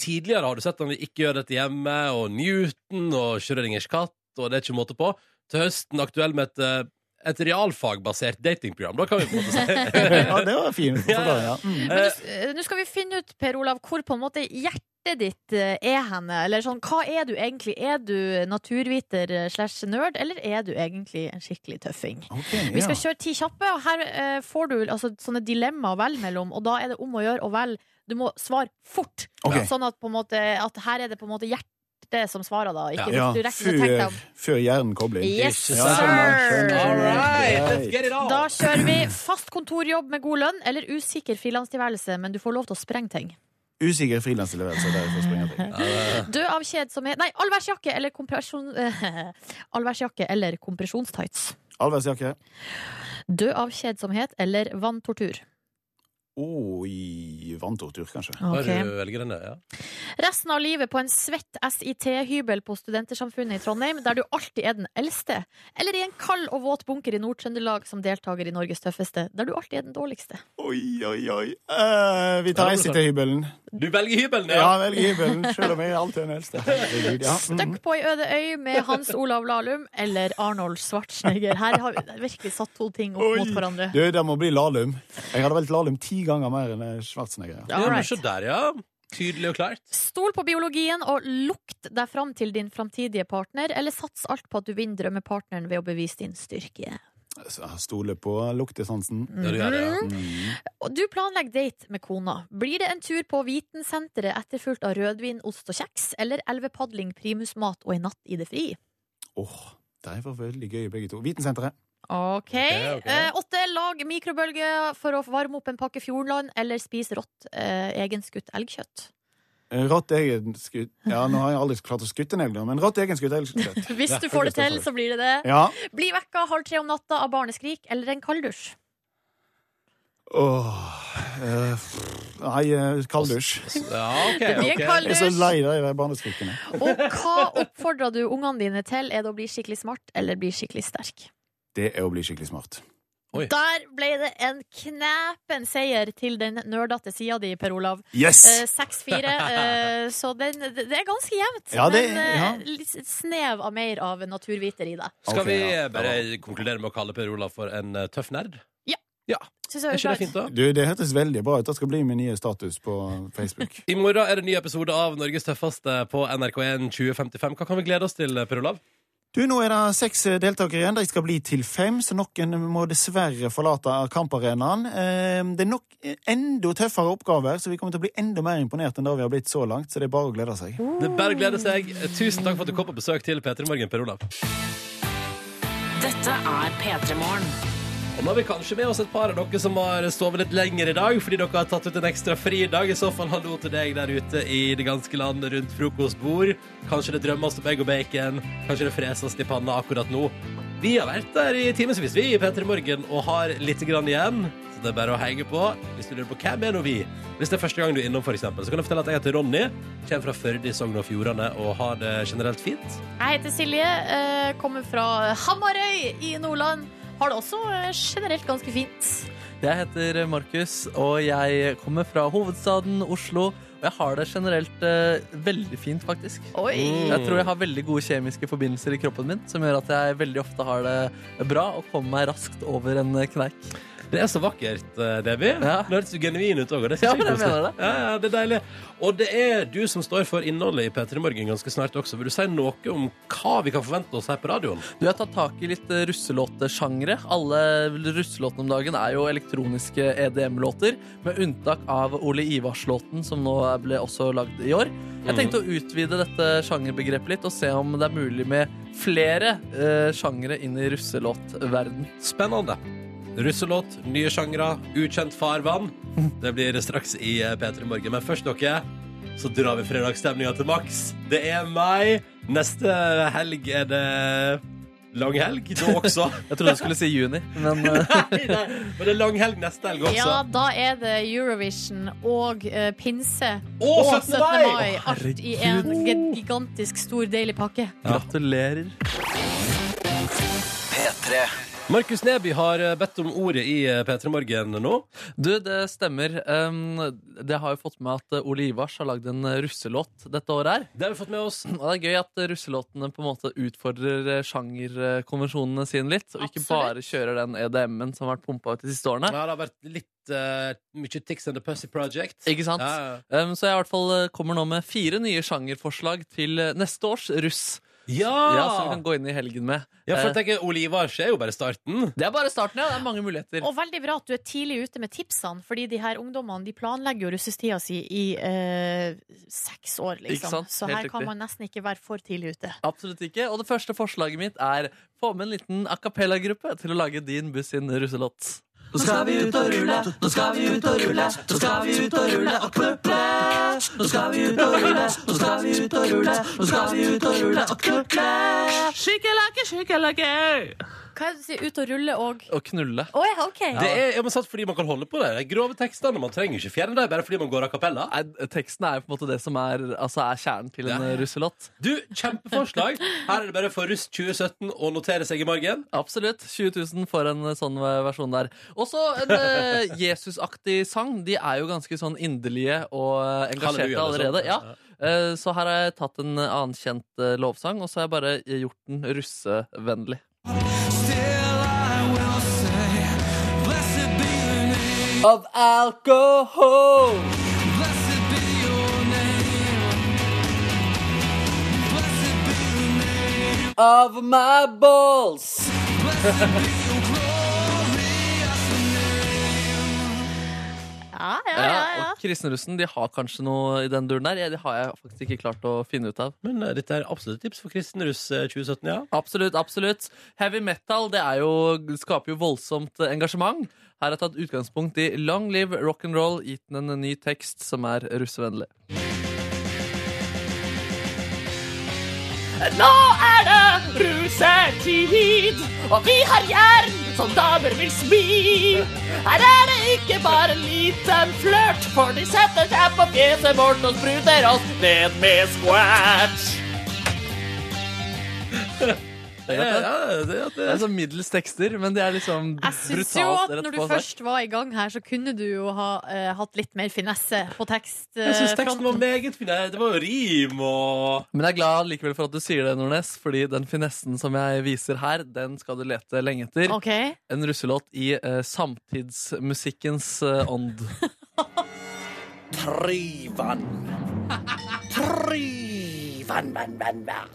Speaker 1: Tidligere har du sett han vi ikke gjør dette hjemme, og Newton og Schrødingers katt, og det er ikke måte på. Til høsten aktuell med et, eh, et realfagbasert datingprogram. Da kan vi på en måte si
Speaker 9: Ja, det var fint. forklaring, ja. Mm.
Speaker 2: Men nå s- eh, nå skal vi finne ut, Per Olav, hvor på en måte hjertet ditt eh, er henne. Eller sånn, hva er du egentlig? Er du naturviter eh, slash nerd, eller er du egentlig en skikkelig tøffing?
Speaker 9: Ok,
Speaker 2: Vi skal
Speaker 9: ja.
Speaker 2: kjøre ti kjappe, og her eh, får du altså, sånne dilemmaer å velge mellom. Og da er det om å gjøre å velge. Du må svare fort.
Speaker 9: Ok.
Speaker 2: Sånn at, på en måte, at her er det på en måte hjertet som svarer, da. Ikke
Speaker 9: Ja,
Speaker 2: hvis du rekker å tenke deg
Speaker 9: før,
Speaker 2: om.
Speaker 9: før hjernen kobler inn.
Speaker 2: Yes,
Speaker 9: Ja, sånn skjønner, skjønner,
Speaker 2: sir!
Speaker 9: skjønner.
Speaker 1: All right, let's
Speaker 9: Greit.
Speaker 1: get it on.
Speaker 2: Da kjører vi fast kontorjobb med god lønn eller usikker frilanstilværelse, men du får lov til å sprenge ting.
Speaker 9: Usikker frilanstilværelse. der for å springe til.
Speaker 2: Dø av kjedsomhet Nei, allværsjakke eller kompresjon... allværsjakke eller kompresjonstights.
Speaker 9: Allværsjakke.
Speaker 2: Dø av kjedsomhet eller vanntortur.
Speaker 9: Oi, vanntortur, kanskje.
Speaker 1: Har
Speaker 2: Ok.
Speaker 1: du velgerne, ja.
Speaker 2: Resten av livet på en svett SIT-hybel på Studentersamfunnet i Trondheim, der du alltid er den eldste. Eller i en kald og våt bunker i Nord-Trøndelag som deltaker i Norges tøffeste, der du alltid er den dårligste.
Speaker 9: Oi, oi, oi. Eh, vi tar
Speaker 1: Ja, det
Speaker 9: reise
Speaker 1: blir
Speaker 9: til hybelen.
Speaker 1: Du velger hybelen,
Speaker 9: Ja, velg hybelen, selv om jeg alltid er den eldste. Herregud, ja. Mm.
Speaker 2: Stuck på ei øde øy med Hans Olav Lahlum eller Arnold Schwarzenegger. Her har vi virkelig satt to ting opp mot
Speaker 9: Oi.
Speaker 2: hverandre.
Speaker 9: Du, det må bli Lahlum. Jeg hadde valgt Lahlum ti ganger mer enn eh, Schwarzenegger. ja.
Speaker 1: Ja,
Speaker 2: All
Speaker 1: men
Speaker 2: right.
Speaker 1: Se der, ja. Tydelig og klart.
Speaker 2: Stol på biologien og lukt deg fram til din framtidige partner, eller sats alt på at du vinner drømmepartneren ved å bevise din styrke.
Speaker 9: Så jeg Stoler på luktesansen.
Speaker 1: Ja, du gjør det,
Speaker 9: Mm.
Speaker 1: ja.
Speaker 2: Mhm. Og du planlegger date med kona. Blir det en tur på Vitensenteret etterfulgt av rødvin, ost og kjeks, eller elvepadling, primusmat og en natt i det fri?
Speaker 9: Åh, de var veldig gøy begge to. Vitensenteret.
Speaker 2: Ok.
Speaker 1: Ok, ok.
Speaker 2: Eh, åtte, lag mikrobølge for å varme opp en pakke Fjordland, eller spis rått eh, egenskutt elgkjøtt.
Speaker 9: Eh, Rått egenskutt Ja, nå har jeg aldri klart å skutte en elg, nå, men rått egenskutt elgkjøtt.
Speaker 2: Hvis du får det til, så blir det det.
Speaker 9: Ja.
Speaker 2: Bli vekka halv tre om natta av barneskrik eller en kalddusj.
Speaker 9: Åh eh, Nei, eh, kalddusj.
Speaker 1: Ja, ok,
Speaker 2: Det blir en
Speaker 1: ok. sånn
Speaker 2: kalddusj.
Speaker 9: Jeg er så lei av de barneskrikene.
Speaker 2: Og hva oppfordrer du ungene dine til? Er det å bli skikkelig smart eller bli skikkelig sterk?
Speaker 9: Det er å bli skikkelig smart.
Speaker 1: Oi.
Speaker 2: Der ble det en knepen seier til den nerdete sida di, Per Olav.
Speaker 9: Yes!
Speaker 2: Eh, 6-4. Eh, så den, det det er ganske jevnt,
Speaker 9: Ja, det-
Speaker 2: men eh,
Speaker 9: ja.
Speaker 2: litt snev av mer av naturviter i deg.
Speaker 1: Skal
Speaker 9: Ok,
Speaker 1: vi
Speaker 9: ja.
Speaker 1: bare konkludere med å kalle Per Olav for en eh, tøff nerd?
Speaker 2: Ja.
Speaker 1: Ja.
Speaker 2: Synes jeg
Speaker 1: Er
Speaker 2: høres
Speaker 1: ikke
Speaker 2: bra
Speaker 1: det fint,
Speaker 2: ut.
Speaker 1: da?
Speaker 9: Du, det hørtes veldig bra ut. Det skal bli min nye status på Facebook.
Speaker 1: I morgen er det ny episode av Norges tøffeste på NRK1 2055. Hva kan vi glede oss til, eh, Per Olav?
Speaker 9: Du, Nå er det seks eh, deltakere igjen. De skal bli til fem, så noen må dessverre forlate kamparenaen. Eh, Det er nok eh, enda tøffere oppgaver, så vi kommer til å bli enda mer imponert enn det vi har blitt så langt. Så det er bare å glede seg.
Speaker 1: Det er bare å glede seg. Tusen takk for at du kom på besøk til P3 Morgen, Per Olav.
Speaker 10: Dette er P3 Morgen.
Speaker 1: Og nå har vi kanskje med oss et par av dere som har sovet litt lenger i dag, fordi dere har tatt ut en ekstra fridag. I så fall hallo til deg der ute i det ganske land rundt frokostbord. Kanskje det drømmes om egg og bacon. Kanskje det freses i panna akkurat nå. Vi har vært der i timevis, vi i P3 Morgen, og har litt grann igjen. Så det er bare å henge på. Hvis du lurer på hvem er nå vi Hvis det er første gang du er innom, for eksempel, så kan jeg fortelle at jeg heter Ronny. Kommer fra Førde i Sogn og Fjordane og har det generelt fint.
Speaker 2: Jeg heter Silje, eh, kommer fra Hamarøy i Nordland. Har det også eh, generelt ganske fint.
Speaker 3: Jeg heter Markus, og jeg kommer fra hovedstaden Oslo. Og jeg har det generelt eh, veldig fint, faktisk.
Speaker 2: Oi!
Speaker 3: Jeg tror jeg har veldig gode kjemiske forbindelser i kroppen min, som gjør at jeg veldig ofte har det bra og kommer meg raskt over en kneik.
Speaker 1: Det er så vakkert, eh, Debbie.
Speaker 3: Ja.
Speaker 1: Det hørtes jo genuin ut òg. Det, synes jeg
Speaker 3: Ja,
Speaker 1: er
Speaker 3: men jeg
Speaker 1: koselig.
Speaker 3: mener det.
Speaker 1: Ja, ja, det er deilig. Og det er du som står for innholdet i P3 Morgen ganske snart også. Vil du si noe om hva vi kan forvente oss her på radioen?
Speaker 3: Du har tatt tak i litt eh, russelåtsjangre. Alle russelåtene om dagen er jo elektroniske EDM-låter, med unntak av Ole Ivars-låten, som nå ble også lagd i år. Jeg tenkte å utvide dette sjangerbegrepet litt og se om det er mulig med flere eh, sjangre inn i russelåtverden.
Speaker 1: Spennende. Russelåt, nye sjangre, ukjent farvann. Det blir straks i eh, P3 Morgen. Men først, dere, så drar vi fredagsstemninga til maks. Det er meg. Neste helg er det langhelg, da også.
Speaker 3: Jeg trodde du skulle si juni, men eh,
Speaker 1: Nei, nei, Men det er langhelg neste helg også.
Speaker 2: Ja, da er det Eurovision og eh, pinse
Speaker 1: Å,
Speaker 2: og
Speaker 1: 17. mai!
Speaker 2: Alt i en gi- gigantisk stor, deilig pakke.
Speaker 3: gratulerer.
Speaker 1: Markus Neby har eh, bedt om ordet i eh, P3 Morgen nå.
Speaker 3: Du, det stemmer. Um, det har jo fått med at eh, Ole Ivars har lagd en eh, russelåt dette året her.
Speaker 1: Det har vi fått med oss.
Speaker 3: Og det er gøy at russelåtene på en måte utfordrer eh, sjangerkonvensjonene sine litt, og ikke
Speaker 2: Absolutt.
Speaker 3: bare kjører den EDM-en som har vært pumpa ut de siste
Speaker 1: Ja,
Speaker 3: årene.
Speaker 1: det har vært litt eh, mye Tix and the Pussy Project.
Speaker 3: Ikke sant?
Speaker 1: Ja, ja.
Speaker 3: Um, så jeg i hvert fall eh, kommer nå med fire nye sjangerforslag til eh, neste års russ.
Speaker 1: Ja!
Speaker 3: Ja, Som vi kan gå inn i helgen med.
Speaker 1: Ah! Ja, for jeg
Speaker 3: Eh,
Speaker 1: tenker, Ole Ivars er jo bare starten.
Speaker 3: det er bare starten, ja. Det er mange muligheter.
Speaker 2: Og veldig bra at du er tidlig ute med tipsene, fordi de her ungdommene de planlegger jo russestida si i eh, seks år,
Speaker 3: Ikke
Speaker 2: liksom.
Speaker 3: sant?
Speaker 2: Så
Speaker 3: Helt
Speaker 2: her kan
Speaker 3: riktig.
Speaker 2: man nesten ikke være for tidlig ute.
Speaker 3: Absolutt ikke. Og det første forslaget mitt er få med en liten a cappella-gruppe til å lage din buss sin russelåt. Nå skal vi ut og rulle, nå skal vi ut og rulle, nå skal vi ut og rulle og knuple. Nå skal vi ut og rulle, nå skal vi ut og rulle, nå skal vi ut og rulle og knuple. Skikkelake, skikkelake.
Speaker 2: Hva er det du sier? Ut og rulle og
Speaker 3: Og knulle.
Speaker 2: Å ja, OK.
Speaker 1: Det er ja, men sant fordi man kan holde på det. De grove tekstene. Man trenger ikke fjerne dem bare fordi man går a cappella.
Speaker 3: Nei, teksten er jo på en måte det som er, altså er kjernen til en
Speaker 1: Ja.
Speaker 3: russelåt.
Speaker 1: Du, kjempeforslag. Her er det bare for russ 2017 å notere seg i margen.
Speaker 3: Absolutt. 20 000 for en sånn versjon der. Også en eh, Jesusaktig sang. De er jo ganske sånn inderlige og eh, engasjerte
Speaker 1: Halleluja, eller sånt.
Speaker 3: allerede. Ja. Eh, Så her har jeg tatt en annen kjent eh, lovsang, og så har jeg bare eh, gjort den russevennlig. Of alcohol. Of my balls.
Speaker 2: Ja, ja,
Speaker 3: Ja,
Speaker 2: ja. ja.
Speaker 3: og kristenrussen de har kanskje noe i den duren der. Ja, Det har jeg faktisk ikke klart å finne ut av.
Speaker 1: Men eh, dette er absolutt tips for kristen russ eh, 2017, ja.
Speaker 3: Absolutt, absolutt. Heavy metal det er jo, skaper jo voldsomt engasjement. Her har jeg tatt utgangspunkt i Long Live Rock'n'Roll, gitt den en ny tekst som er russevennlig.
Speaker 10: Nå er det rusetid, og vi har jern som damer vil smi. Her er det ikke bare en liten flørt, for de setter seg på fjeset vårt og spruter oss ned med squatch.
Speaker 3: Det er, godt, det.
Speaker 1: det,
Speaker 3: er sånn middels tekster, men det er liksom
Speaker 2: Jeg syns jo
Speaker 3: brutalt
Speaker 2: at
Speaker 3: rett
Speaker 2: når du
Speaker 3: på sak.
Speaker 2: først var i gang her, så kunne du jo ha eh, hatt litt mer finesse på tekst. eh,
Speaker 1: Jeg syns teksten
Speaker 2: fronten.
Speaker 1: var meget fin. Det var jo rim og
Speaker 3: Men jeg er glad likevel for at du sier det, Nordnes, fordi den finessen som jeg viser her, den skal du lete lenge etter.
Speaker 2: Ok.
Speaker 3: En russelåt i eh, samtidsmusikkens eh, ånd.
Speaker 10: Tryvann. Tryvann, vann, vann, vann.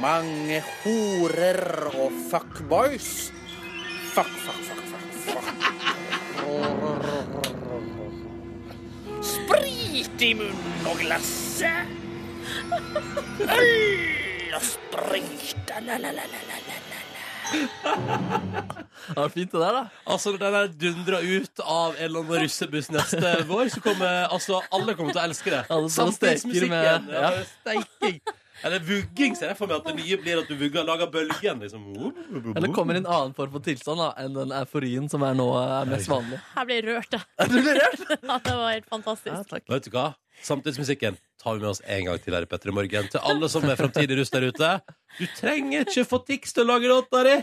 Speaker 10: Mange horer og fuckboys. Fuck, fuck, fuck, fuck, fuck. Sprit i munnen og glasset. Øl og sprit. La, la, la, la, la, la.
Speaker 3: Det var fint, det der, da.
Speaker 1: Altså, når den der dundra ut av en eller annen russebuss neste vår, så kommer altså, alle kommer til å elske det.
Speaker 3: Alle står og steker med-
Speaker 1: Samtidsmusikken. Ja. Steiking. Eller vugging, ser jeg for meg at det nye blir at du vugger og lager bølgen. Liksom.
Speaker 3: Eller kommer i en annen form for tilstand da, enn den euforien som er nå eh, er mest vanlig.
Speaker 2: Jeg ble rørt, jeg. ja, det var helt fantastisk.
Speaker 1: Vet du hva? Samtidsmusikken tar vi med oss en gang til her i Petter i Morgen. Til alle som er framtidig russ der ute. Du trenger ikke få Tix til å lage låta di!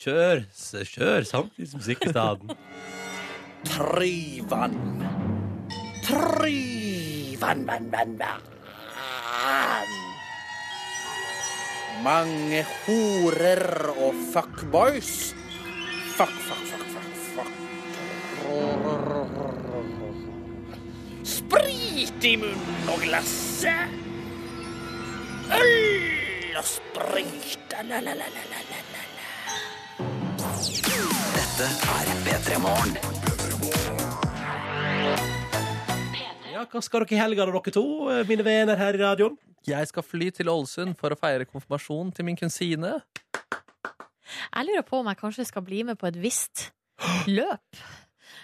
Speaker 1: Kjør, s- kjør samtidsmusikk i stedet.
Speaker 10: Tryvann. Tryvann, vann, vann, vann. Mange horer og fuckboys. Fuck, fuck, fuck, fuck, fuck. Sprit i munnen og glasset. Øl og sprit. La, la, la, la, la, la.
Speaker 7: Dette er P3 Morgen.
Speaker 1: Ja, hva skal dere i helga, da, dere to? eh, Mine venner her i radioen.
Speaker 3: Jeg skal fly til Ålesund for å feire konfirmasjon til min kusine.
Speaker 2: Jeg lurer på om jeg kanskje skal bli med på et visst løp.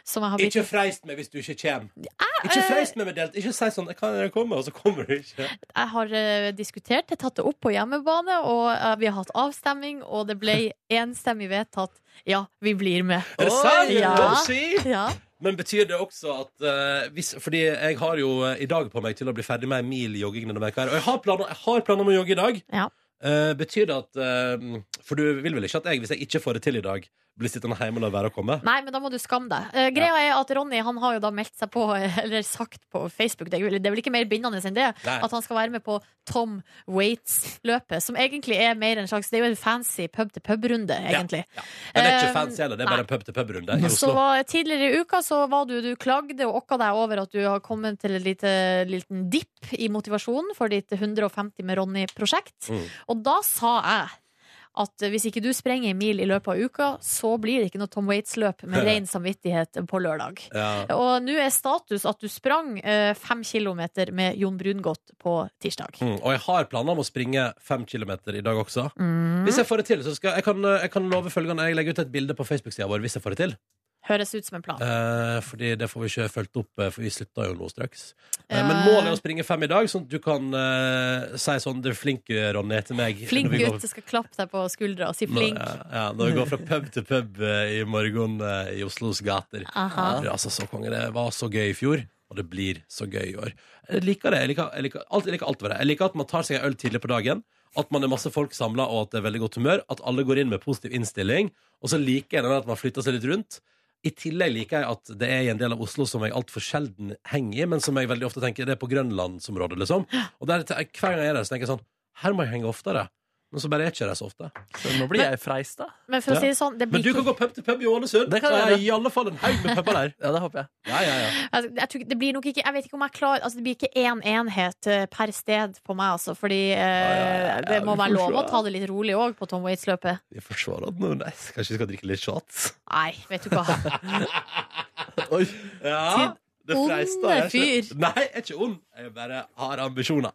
Speaker 2: Som jeg har blitt
Speaker 1: Ikke freist meg hvis du ikke kommer. Ikke
Speaker 2: eh,
Speaker 1: freist meg med delt. Ikke si sånn 'Kan jeg komme?' og så kommer du ikke.
Speaker 2: Jeg har eh, diskutert det, tatt det opp på hjemmebane, og eh, vi har hatt avstemning, og det ble enstemmig vedtatt. Ja, vi blir med.
Speaker 1: Er det sant?
Speaker 2: Ja.
Speaker 1: Hva sier?
Speaker 2: Ja.
Speaker 1: Men betyr det også at eh, hvis, Fordi jeg har jo eh, i dag på meg til å bli ferdig med en mil jogging. denne veka her, Og jeg har planer, jeg har planer om å jogge i dag.
Speaker 2: Ja.
Speaker 1: Eh, betyr det at eh, For du vil vel ikke at jeg, hvis jeg ikke får det til i dag, blir sittende hjemme og lar være å komme?
Speaker 2: Nei, men da må du skamme deg. Eh, greia er at Ronny han har jo da meldt seg på, eh, eller sagt på Facebook, det er vel- det er vel ikke mer bindende enn det,
Speaker 10: Nei.
Speaker 2: at han skal være med på Tom Waits-løpet, som egentlig er mer en slags Det er jo en fancy pub-til-pub-runde, egentlig.
Speaker 1: Men det er
Speaker 2: Eh,
Speaker 1: ikke fancy heller. Det er bare en pub-til-pub-runde i
Speaker 2: Så
Speaker 1: Oslo.
Speaker 2: var, tidligere i uka så var du, du klagde og okka deg over at du har kommet til en lite, liten dipp i motivasjonen for ditt 150 med Ronny-prosjekt.
Speaker 10: Mm.
Speaker 2: Og da sa jeg at hvis ikke du sprenger en mil i løpet av uka, så blir det ikke noe Tom Waits-løp med ren samvittighet på lørdag.
Speaker 1: Ja.
Speaker 2: Og nå er status at du sprang eh, fem kilometer med Jon Brungot på tirsdag.
Speaker 1: Mm, og jeg har planer om å springe fem kilometer i dag også.
Speaker 2: Mm.
Speaker 1: Hvis jeg får det til, så skal jeg kan, eh, jeg kan love følgende. Jeg legger ut et bilde på Facebook-sida vår hvis jeg får det til.
Speaker 2: Høres ut som en plan.
Speaker 1: Eh, fordi det får vi ikke fulgt opp, eh, for vi slutta jo nå straks. Eh,
Speaker 2: Ja.
Speaker 1: men målet er å springe fem i dag, sånn at du kan eh, si sånn 'Du er flink, Ronny', til meg.
Speaker 2: Flink
Speaker 1: når vi
Speaker 2: gutt,
Speaker 1: går-
Speaker 2: jeg skal klappe deg på skuldra og si
Speaker 1: Når,
Speaker 2: flink.
Speaker 1: ja, ja, når vi går fra pub til pub eh, i morgen eh, i Oslos gater.
Speaker 2: Aha.
Speaker 1: Ja, altså, så konge, det var så gøy i fjor, og det blir så gøy i år. Jeg liker det. Jeg liker, jeg liker, alt, jeg liker alt ved det. Jeg liker at man tar seg en øl tidlig på dagen, at man er masse folk samla, og at det er veldig godt humør. At alle går inn med positiv innstilling. Og så liker jeg den at man flytter seg litt rundt. I tillegg liker jeg at det er i en del av Oslo som jeg altfor sjelden henger i, men som jeg veldig ofte tenker det er på Grønlandsområdet, liksom. Og der, hver gang jeg er der, så tenker jeg sånn Her må jeg henge oftere. Men så bare er ikke jeg der så ofte.
Speaker 3: Så nå blir jeg freist, da.
Speaker 2: Men for å si det sånn, det blir
Speaker 1: Men du
Speaker 2: ikke-
Speaker 1: kan gå pub til pub i Ålesund.
Speaker 3: Det kan jeg
Speaker 1: Og
Speaker 3: gjøre.
Speaker 1: I alle fall en haug med puber der.
Speaker 3: Ja, det håper jeg.
Speaker 1: Ja, ja, ja.
Speaker 2: Altså, jeg, tror, ikke- det blir nok ikke Jeg vet ikke om jeg klarer altså, Det blir ikke én enhet eh, per sted på meg, altså. Fordi eh, det må
Speaker 1: vi
Speaker 2: være
Speaker 1: får
Speaker 2: lov
Speaker 1: se.
Speaker 2: å ta det litt rolig òg på Tom Waits-løpet.
Speaker 1: Vi forsvarer den, men nei, kanskje vi skal drikke litt shots?
Speaker 2: Nei, vet du hva.
Speaker 1: Oi. Ja, det
Speaker 2: onde
Speaker 1: freista. Jeg er ikke-
Speaker 2: fyr.
Speaker 1: Nei, jeg er ikke ond. Jeg bare har ambisjoner.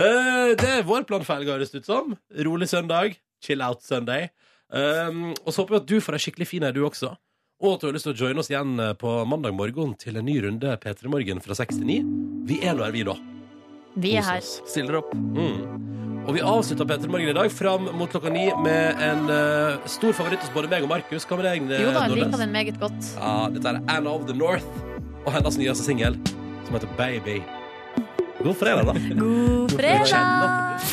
Speaker 1: Eh, det er vår plan for helga, høres det ut som. Rolig søndag. Chill out Sunday. Um, og så håper vi at du får ei skikkelig fin ei, du også. Og at du har lyst til å joine oss igjen eh, på mandag morgen til en ny runde P3 Morgen fra 6 til 9. Vi er nå her, vi, da.
Speaker 2: Vi er her.
Speaker 3: Stiller opp.
Speaker 1: Mm. Og vi avslutter P3 Morgen i dag fram mot klokka ni med en eh, stor favoritt hos både meg og Markus. Hva med deg, eh,
Speaker 2: Jo da, jeg
Speaker 1: Nordnes?
Speaker 2: liker den meget godt.
Speaker 1: Ja, dette er Anna of the North og hennes nyeste singel, som heter Baby. God fredag, da.
Speaker 2: God fredag!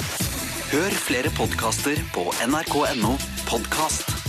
Speaker 10: Hør flere podkaster på nrk.no podkast.